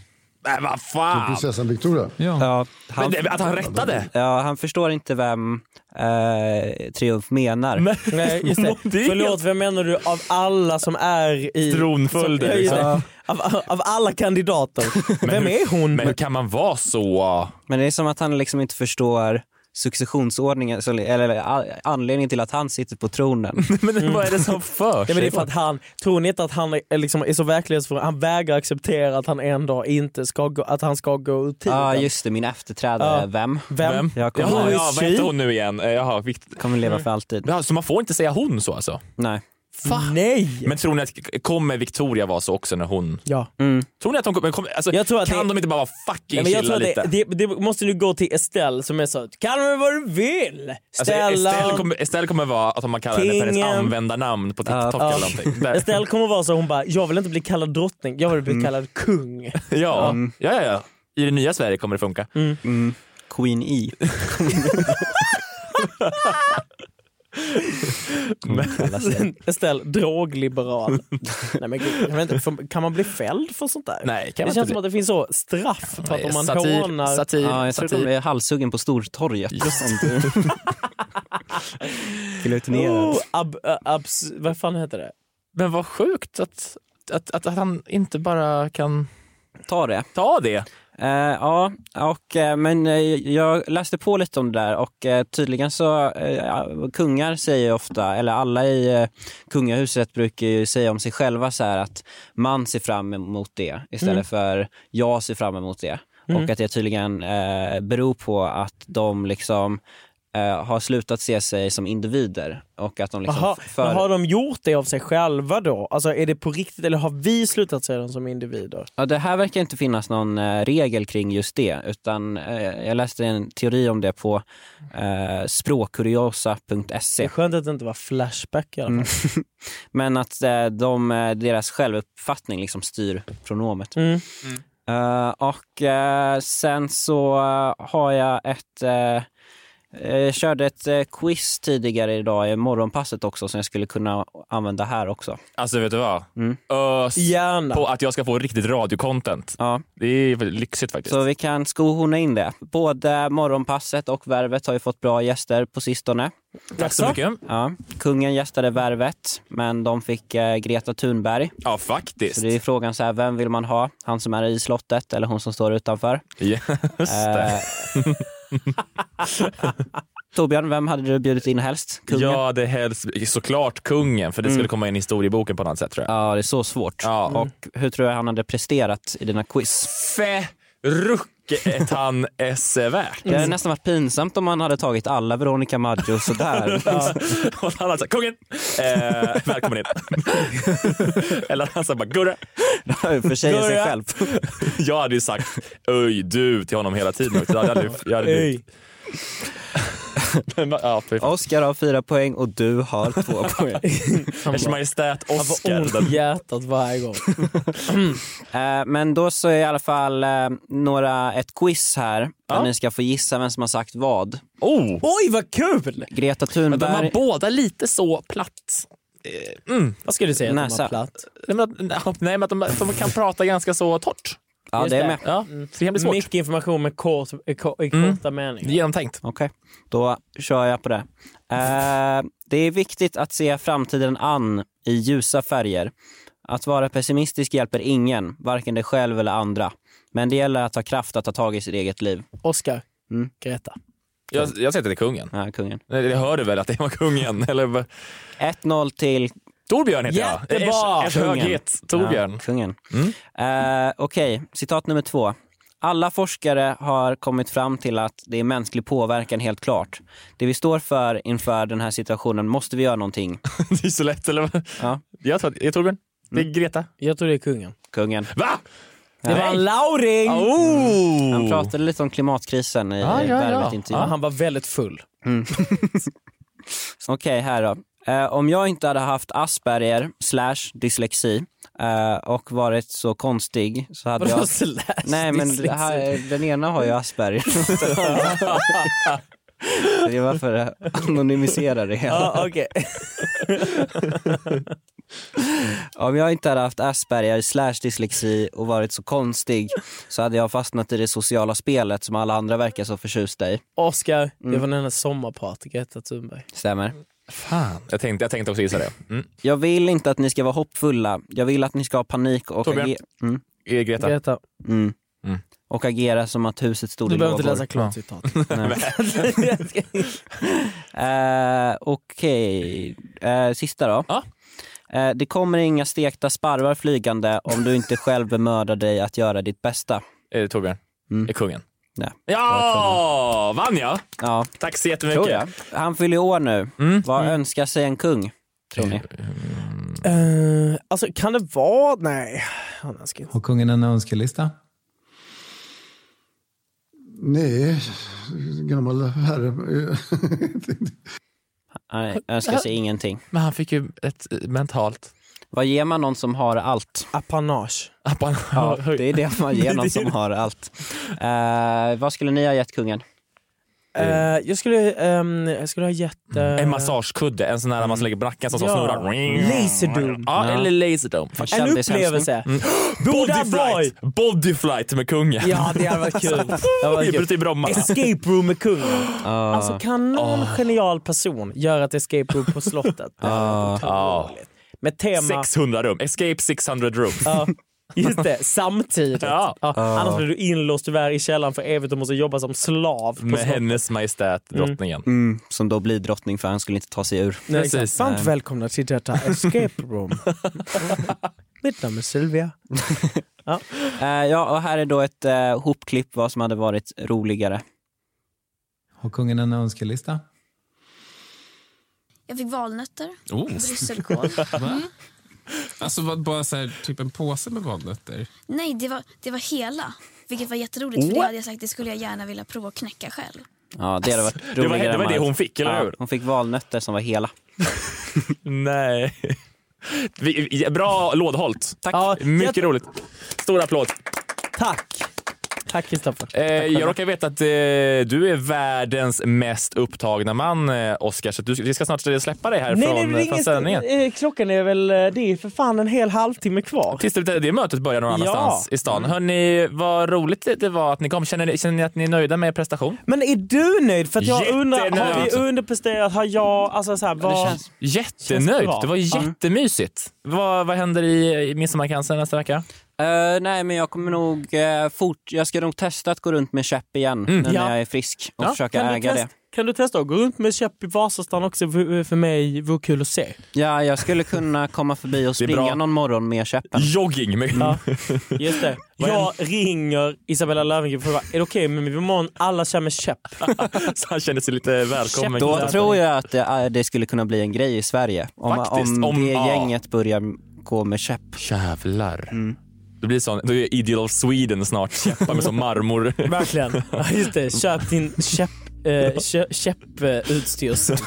Speaker 6: Nej, vad fan!
Speaker 21: Kronprinsessan Victoria?
Speaker 8: Ja,
Speaker 6: Men det- att han rättade?
Speaker 8: Ja, han förstår inte vem eh, Triumf menar.
Speaker 9: Nej,
Speaker 8: [laughs]
Speaker 9: just det. Förlåt, vem menar du av alla som är i...
Speaker 6: Tronföljder,
Speaker 9: som- ja, just det.
Speaker 6: liksom.
Speaker 9: Av, av alla kandidater. Vem är
Speaker 6: [laughs]
Speaker 9: hon?
Speaker 6: Men hur kan man vara så...
Speaker 8: Men det är som att han liksom inte förstår successionsordningen, så- eller a- anledningen till att han sitter på
Speaker 9: [laughs]
Speaker 8: tronen.
Speaker 6: [laughs] Mm. Men vad är det som för
Speaker 9: Ja, men det är
Speaker 6: sig?
Speaker 9: för att han, tror ni inte att han är, liksom, är så verklighetsfrånvänd? Han vägrar acceptera att han en dag inte ska gå, att han ska gå ur
Speaker 8: Ja,
Speaker 9: tiden.
Speaker 8: Ah, just det, min efterträdare,
Speaker 9: Ja.
Speaker 8: vem?
Speaker 9: Vem?
Speaker 8: Jag kommer,
Speaker 6: Jaha, ja, vad heter hon nu igen? Eh, Jaha, vikt...
Speaker 9: Mm.
Speaker 8: kommer leva för alltid.
Speaker 6: Ja, så man får inte säga hon så alltså?
Speaker 8: Nej.
Speaker 9: Nej!
Speaker 6: Men tror ni att kommer Victoria vara så också när hon...
Speaker 9: Ja.
Speaker 8: Mm,
Speaker 6: Tror ni att hon kommer... kommer alltså, kan de inte bara vara fucking
Speaker 9: Ja, men jag
Speaker 6: chilla
Speaker 9: tror att
Speaker 6: lite?
Speaker 9: det, det, det måste nu gå till Estelle som är så kalla mig vad du vill!
Speaker 6: Alltså,
Speaker 9: Stellan.
Speaker 6: Estelle, kommer, Estelle kommer vara att om man kallar henne för
Speaker 9: Kingen.
Speaker 6: hennes användarnamn på TikTok eller någonting. Där.
Speaker 9: [laughs] Estelle kommer vara så hon bara, jag vill inte bli kallad drottning, jag vill bli
Speaker 6: Mm.
Speaker 9: kallad kung.
Speaker 6: Ja.
Speaker 9: Mm.
Speaker 6: ja, ja, ja. I det nya Sverige kommer det funka.
Speaker 8: Queen E. Mm.
Speaker 9: Men- Estelle, drogliberal. Nej men gud, jag vet inte, får- kan man bli fälld för sånt där?
Speaker 6: Nej,
Speaker 9: det
Speaker 8: man
Speaker 9: känns
Speaker 8: inte
Speaker 9: som
Speaker 8: bli.
Speaker 9: att det finns så straff för att om man hånar...
Speaker 8: Ja, jag tror att de är halshuggen på Stortorget. [laughs] Guillotinerad.
Speaker 9: Oh, ab, ab, abs, vad fan heter det?
Speaker 6: Men vad sjukt att, att, att, att han inte bara kan...
Speaker 8: Ta det.
Speaker 6: Ta det.
Speaker 8: Eh, ja, och, eh, men eh, jag läste på lite om det där och eh, tydligen så, eh, ja, kungar säger ju ofta, eller alla i eh, kungahuset brukar ju säga om sig själva så här att man ser fram emot det istället
Speaker 9: Mm.
Speaker 8: för jag ser fram emot det.
Speaker 9: Mm.
Speaker 8: Och att det tydligen eh, beror på att de liksom eh, har slutat se sig som individer och att de liksom
Speaker 9: Aha,
Speaker 8: f-
Speaker 9: men
Speaker 8: för...
Speaker 9: har de gjort det av sig själva då? Alltså är det på riktigt eller har vi slutat se dem som individer?
Speaker 8: Ja, det här verkar inte finnas någon eh, regel kring just det, utan eh, jag läste en teori om det på eh,
Speaker 9: Det är
Speaker 8: språkkuriosa.se.
Speaker 9: skönt att det inte var Flashback i alla fall.
Speaker 8: Mm. [laughs] Men att eh, de, eh, deras självuppfattning liksom styr pronomet.
Speaker 9: Mm.
Speaker 8: Eh, och eh, sen så eh, har jag ett eh, eh, jag körde ett eh, quiz tidigare idag i morgonpasset också som jag skulle kunna använda här också.
Speaker 6: Alltså vet du vad? Ös
Speaker 9: Gärna.
Speaker 6: på att jag ska få riktigt radiocontent.
Speaker 8: Ja.
Speaker 6: Det är väldigt lyxigt faktiskt.
Speaker 8: Så vi kan skohorna in det. Både Morgonpasset och Värvet har ju fått bra gäster på sistone.
Speaker 6: Tack så mycket.
Speaker 8: Ja, kungen gästade Värvet, men de fick eh, Greta Thunberg.
Speaker 6: Ja, faktiskt.
Speaker 8: Så det är frågan så här, vem vill man ha? Han som är i slottet eller hon som står utanför? Eh,
Speaker 6: Just det. [laughs]
Speaker 8: Torbjörn, vem hade du bjudit in helst? Kungen?
Speaker 6: Ja, det helst, såklart kungen, för det skulle komma in i historieboken på något sätt tror jag.
Speaker 8: Ja, det är så svårt.
Speaker 6: Ja.
Speaker 8: Och hur tror jag han hade presterat i dina quiz?
Speaker 6: Rucket han esse värt.
Speaker 8: Det hade nästan varit pinsamt om han hade tagit alla Veronica Maggio sådär.
Speaker 6: [laughs]
Speaker 8: [laughs]
Speaker 6: Ja. Och han alltså, kungen! Eh, välkommen in. Eller han sa bara, Gurra!
Speaker 8: Försäger sig
Speaker 6: Gurra.
Speaker 8: själv.
Speaker 6: Jag hade ju sagt, öj du till honom hela tiden. också. Jag hade, aldrig- jag hade
Speaker 8: Öj.
Speaker 6: blivit... Men, ja, fy fan.
Speaker 8: Oscar har fyra poäng och du har två poäng.
Speaker 6: Ers Majestät Oscar.
Speaker 9: Han får ont i hjärtat
Speaker 8: [laughs]
Speaker 9: varje gång.
Speaker 8: Eh, Men då så är i alla fall eh, några, ett quiz här där ni ska få gissa vem som har sagt vad.
Speaker 6: Oh.
Speaker 9: Oj, vad kul!
Speaker 8: Greta Thunberg.
Speaker 6: båda lite så platt. Mm.
Speaker 9: Vad ska du säga att de
Speaker 8: Näsa.
Speaker 9: har platt?
Speaker 6: Nej, men, att- nej, men att de, att de kan prata ganska så torrt.
Speaker 8: Ja, det är med.
Speaker 6: Ja, så det kan bli svårt.
Speaker 9: Mycket information med kort, i ko- i
Speaker 8: Mm.
Speaker 9: korta meningar.
Speaker 6: Genomtänkt.
Speaker 8: Okej, då kör jag på det. Eh, det är viktigt att se framtiden an i ljusa färger. Att vara pessimistisk hjälper ingen, varken dig själv eller andra. Men det gäller att ha kraft att ta tag i sitt eget liv.
Speaker 9: Oscar,
Speaker 8: Mm.
Speaker 9: Greta.
Speaker 6: Jag, jag säger att det är kungen.
Speaker 8: Ja, kungen.
Speaker 6: Nej, Det hörde väl att det var kungen? [laughs] Eller... vad?
Speaker 8: 1-0 till...
Speaker 6: Torbjörn heter jag. Det är
Speaker 8: Jättebra!
Speaker 6: Ers- Ers höghet, Torbjörn.
Speaker 8: Ja, kungen. Eh, Okej, citat nummer två. Alla forskare har kommit fram till att det är mänsklig påverkan helt klart. Det vi står för inför den här situationen måste vi göra någonting.
Speaker 6: [laughs] det är så lätt, eller vad?
Speaker 8: Ja.
Speaker 6: Jag tror att det är Torbjörn. Det är Greta.
Speaker 9: Jag tror det är kungen.
Speaker 8: Kungen.
Speaker 6: Va?
Speaker 9: Det var en lauring!
Speaker 6: Mm. Oh.
Speaker 8: Han pratade lite om klimatkrisen i ah,
Speaker 9: Ja, han var väldigt full.
Speaker 8: Okej, här då. Eh, om jag inte hade haft Asperger slash dyslexi eh, och varit så konstig så hade
Speaker 9: Vadå
Speaker 8: jag...
Speaker 9: slash
Speaker 8: Nej, men
Speaker 9: dyslexi?
Speaker 8: det här, den ena har ju
Speaker 9: [laughs]
Speaker 8: Asperger. Så det var för att anonymisera det hela.
Speaker 9: Ja, okej.
Speaker 8: Om jag inte hade haft Asperger slash dyslexi och varit så konstig så hade jag fastnat i det sociala spelet som alla andra verkar så förtjusta i.
Speaker 9: Oscar, det
Speaker 8: Mm.
Speaker 9: var den här sommarpratet, Greta Thunberg.
Speaker 8: Stämmer.
Speaker 6: Fan. Jag tänkte, jag tänkte också gissa det. Mm.
Speaker 8: Jag vill inte att ni ska vara hoppfulla. Jag vill att ni ska ha panik och,
Speaker 6: Torbjörn.
Speaker 8: ager- mm.
Speaker 6: Är Greta.
Speaker 9: Greta.
Speaker 8: Mm.
Speaker 6: Mm.
Speaker 8: och agera som att huset stod
Speaker 9: Du
Speaker 8: i
Speaker 9: behöver
Speaker 8: lågor.
Speaker 9: inte läsa klart citatet.
Speaker 8: [laughs] Eh, Okej, Eh, sista då. Eh, det kommer inga stekta sparvar flygande om du inte själv bemödar dig att göra ditt bästa.
Speaker 6: Är det Torbjörn? Är kungen?
Speaker 8: Nej.
Speaker 6: Ja! Vann jag?
Speaker 8: Ja.
Speaker 6: Tack så jättemycket.
Speaker 8: Mm. Tror jag. Han fyller ju år nu. Vad önskar sig en kung? tror ni?
Speaker 9: Eh, alltså kan det vara... Nej. Han önskar inte.
Speaker 5: Har kungen en önskelista?
Speaker 21: Nej, gammal herre.
Speaker 8: Nej, önskar sig ingenting.
Speaker 6: Men han fick ju ett eh, mentalt...
Speaker 8: Vad ger man någon som har allt?
Speaker 9: Apanage.
Speaker 8: [laughs] Ja, det är det man ger någon som har allt. Eh, vad skulle ni ha gett kungen?
Speaker 9: Eh, jag, skulle, ehm, jag skulle ha gett... eh,
Speaker 6: En massagekudde, en sån här man lägger på nacken som så
Speaker 9: Ja.
Speaker 6: snurrar.
Speaker 9: Laserdome.
Speaker 6: Ja,
Speaker 9: Ja.
Speaker 6: eller laserdome.
Speaker 9: En upplevelse. Bodyflight!
Speaker 6: Bodyflight! Bodyflight med kungen.
Speaker 9: Ja, det hade varit kul. Det
Speaker 6: [laughs]
Speaker 9: hade varit kul.
Speaker 6: Till Bromma.
Speaker 9: Escape room med kungen.
Speaker 6: Ah.
Speaker 9: Alltså kan någon genial person göra ett escape room på slottet?
Speaker 6: Ah.
Speaker 9: Med tema...
Speaker 6: 600 rum. Escape 600 room.
Speaker 9: Ja, just det,
Speaker 6: [laughs]
Speaker 9: samtidigt. Ja.
Speaker 6: Ah.
Speaker 9: Annars blir du inlåst tyvärr i källaren för evigt och måste jobba som slav. På
Speaker 6: Med
Speaker 9: slottet.
Speaker 6: hennes majestät, drottningen.
Speaker 8: Mm. Mm, som då blir drottning för han skulle inte ta sig ur.
Speaker 9: Nej, exakt. Varmt välkomna till detta escape [laughs] room. Mitt namn är Sylvia. ja.
Speaker 8: Eh, ja, och här är då ett eh, hopklipp vad som hade varit roligare.
Speaker 5: Har kungen en önskelista?
Speaker 22: Jag fick valnötter,
Speaker 23: Oh.
Speaker 22: brysselkål.
Speaker 23: Va? Alltså vad, bara så här, typ en påse med valnötter?
Speaker 22: Nej, det var, det var hela. Vilket var jätteroligt för det
Speaker 23: What?
Speaker 22: hade jag sagt det skulle jag gärna vilja prova att knäcka själv.
Speaker 8: Ja, det hade varit
Speaker 6: Det var-
Speaker 8: roligare.
Speaker 6: det var
Speaker 8: än
Speaker 6: det
Speaker 8: vad-
Speaker 6: hon fick, eller hur?
Speaker 8: Hon fick valnötter som var hela.
Speaker 6: Nej. [laughs] Vi- vi- Bra lådholt. Tack. Mycket roligt. Stor applåd.
Speaker 9: Tack. Tack Kristoffer.
Speaker 6: Eh, jag råkar veta att eh, du är världens mest upptagna man, eh, Oscar, så att du, vi ska snart släppa dig
Speaker 9: Nej,
Speaker 6: härifrån
Speaker 9: nej, det är
Speaker 6: eh, från
Speaker 9: ingen-
Speaker 6: sändningen.
Speaker 9: eh, Klockan är väl, eh, det är för fan en hel halvtimme kvar.
Speaker 6: Tills det, det mötet börjar någon
Speaker 9: Ja. Mm.
Speaker 6: annanstans i stan. Hörni, vad roligt det- det var att ni kom. Känner ni, känner ni att ni är nöjda med er prestation?
Speaker 9: Men är du nöjd? För att jag undrar, har vi
Speaker 6: Jättenöjd.
Speaker 9: underpresterat? Har jag, alltså så här, vad...
Speaker 6: Jättenöjd.
Speaker 9: bra.
Speaker 6: Det var
Speaker 9: Ja.
Speaker 6: jättemysigt. Vad, vad händer i, i midsommarkransen nästa vecka?
Speaker 8: Eh, nej, men jag kommer nog eh, fort... Jag ska nog testa att gå runt med käpp igen
Speaker 9: Mm.
Speaker 8: när
Speaker 9: Ja.
Speaker 8: jag är frisk och försöka
Speaker 9: kan du
Speaker 8: äga det.
Speaker 9: test- Kan du testa att gå runt med käpp i Vasastan också? För, för mig vore kul att se.
Speaker 8: Ja, jag skulle kunna
Speaker 6: [laughs]
Speaker 8: komma förbi och
Speaker 9: är bra.
Speaker 8: springa någon morgon med käppen.
Speaker 6: Jogging! Med...
Speaker 9: Mm. Ja, just det. [laughs] Jag ringer Isabella Löwengrip och frågar, är det okej om imorgon alla kör med käpp?
Speaker 6: [laughs] Så han känner sig lite välkommen.
Speaker 8: Då tror jag att det, är- det skulle kunna bli en grej i Sverige. Om,
Speaker 6: Faktiskt,
Speaker 8: om,
Speaker 6: om-
Speaker 8: det
Speaker 6: ja. Mm.
Speaker 8: gänget börjar gå med käpp.
Speaker 6: Jävlar.
Speaker 9: Mm.
Speaker 6: Det blir sån, då är Ideal of Sweden snart. Käppar med sån
Speaker 9: [laughs]
Speaker 6: marmor.
Speaker 9: Verkligen. Ja, just det. Köp din käpp. Eh, kö- [laughs] Käpputstyrsel.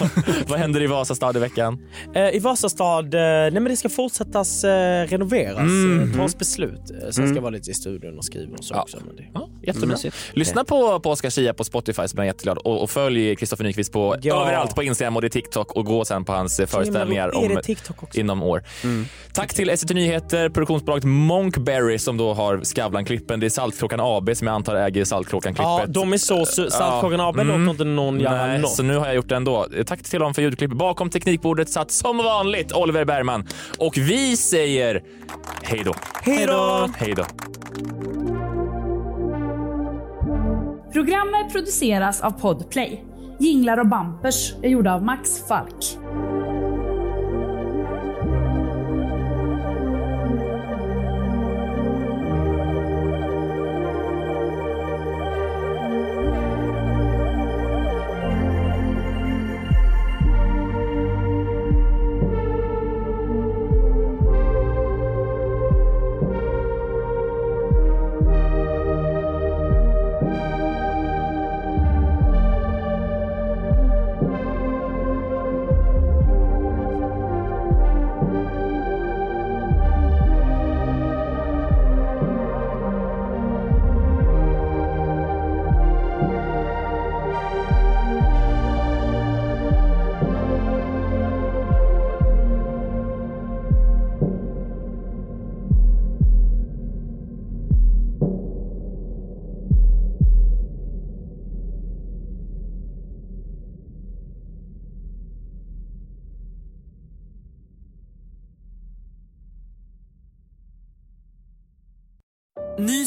Speaker 6: Vad händer i Vasastad i veckan?
Speaker 9: Eh, I Vasastad, eh, nej men det ska fortsättas eh, renoveras.
Speaker 6: Mhm.
Speaker 9: Mm. Tas beslut. Eh, sen ska
Speaker 6: Mm.
Speaker 9: jag vara lite i studion och skriva och så också. Men det...
Speaker 6: Jättebra. Lyssna på, på Oscar Schia på Spotify så blir han jätteglad. Och, och följ Kristoffer Nyqvist på
Speaker 9: Ja.
Speaker 6: överallt på Instagram och det är TikTok och gå sen på hans eh, föreställningar
Speaker 9: Är
Speaker 6: om,
Speaker 9: det TikTok också?
Speaker 6: inom år.
Speaker 9: Mm.
Speaker 6: Tack till SVT Nyheter, produktionsbolaget Monkberry som då har Skavlan-klippen. Det är Saltkråkan AB som jag antar äger Saltkråkan-klippet.
Speaker 9: Ja, de är så... su- Saltkråkan AB
Speaker 6: Ja. Mm.
Speaker 9: låter inte någon göra
Speaker 6: Nej,
Speaker 9: något.
Speaker 6: så nu har jag gjort det ändå. Eh, Tack till dem för ljudklipp. Bakom teknikbordet satt som vanligt Oliver Bergman. Och vi säger hej då.
Speaker 9: Hej då!
Speaker 6: Hej då.
Speaker 7: Programmet produceras av Podplay. Jinglar och bampers är gjorda av Max Falk.
Speaker 1: Ny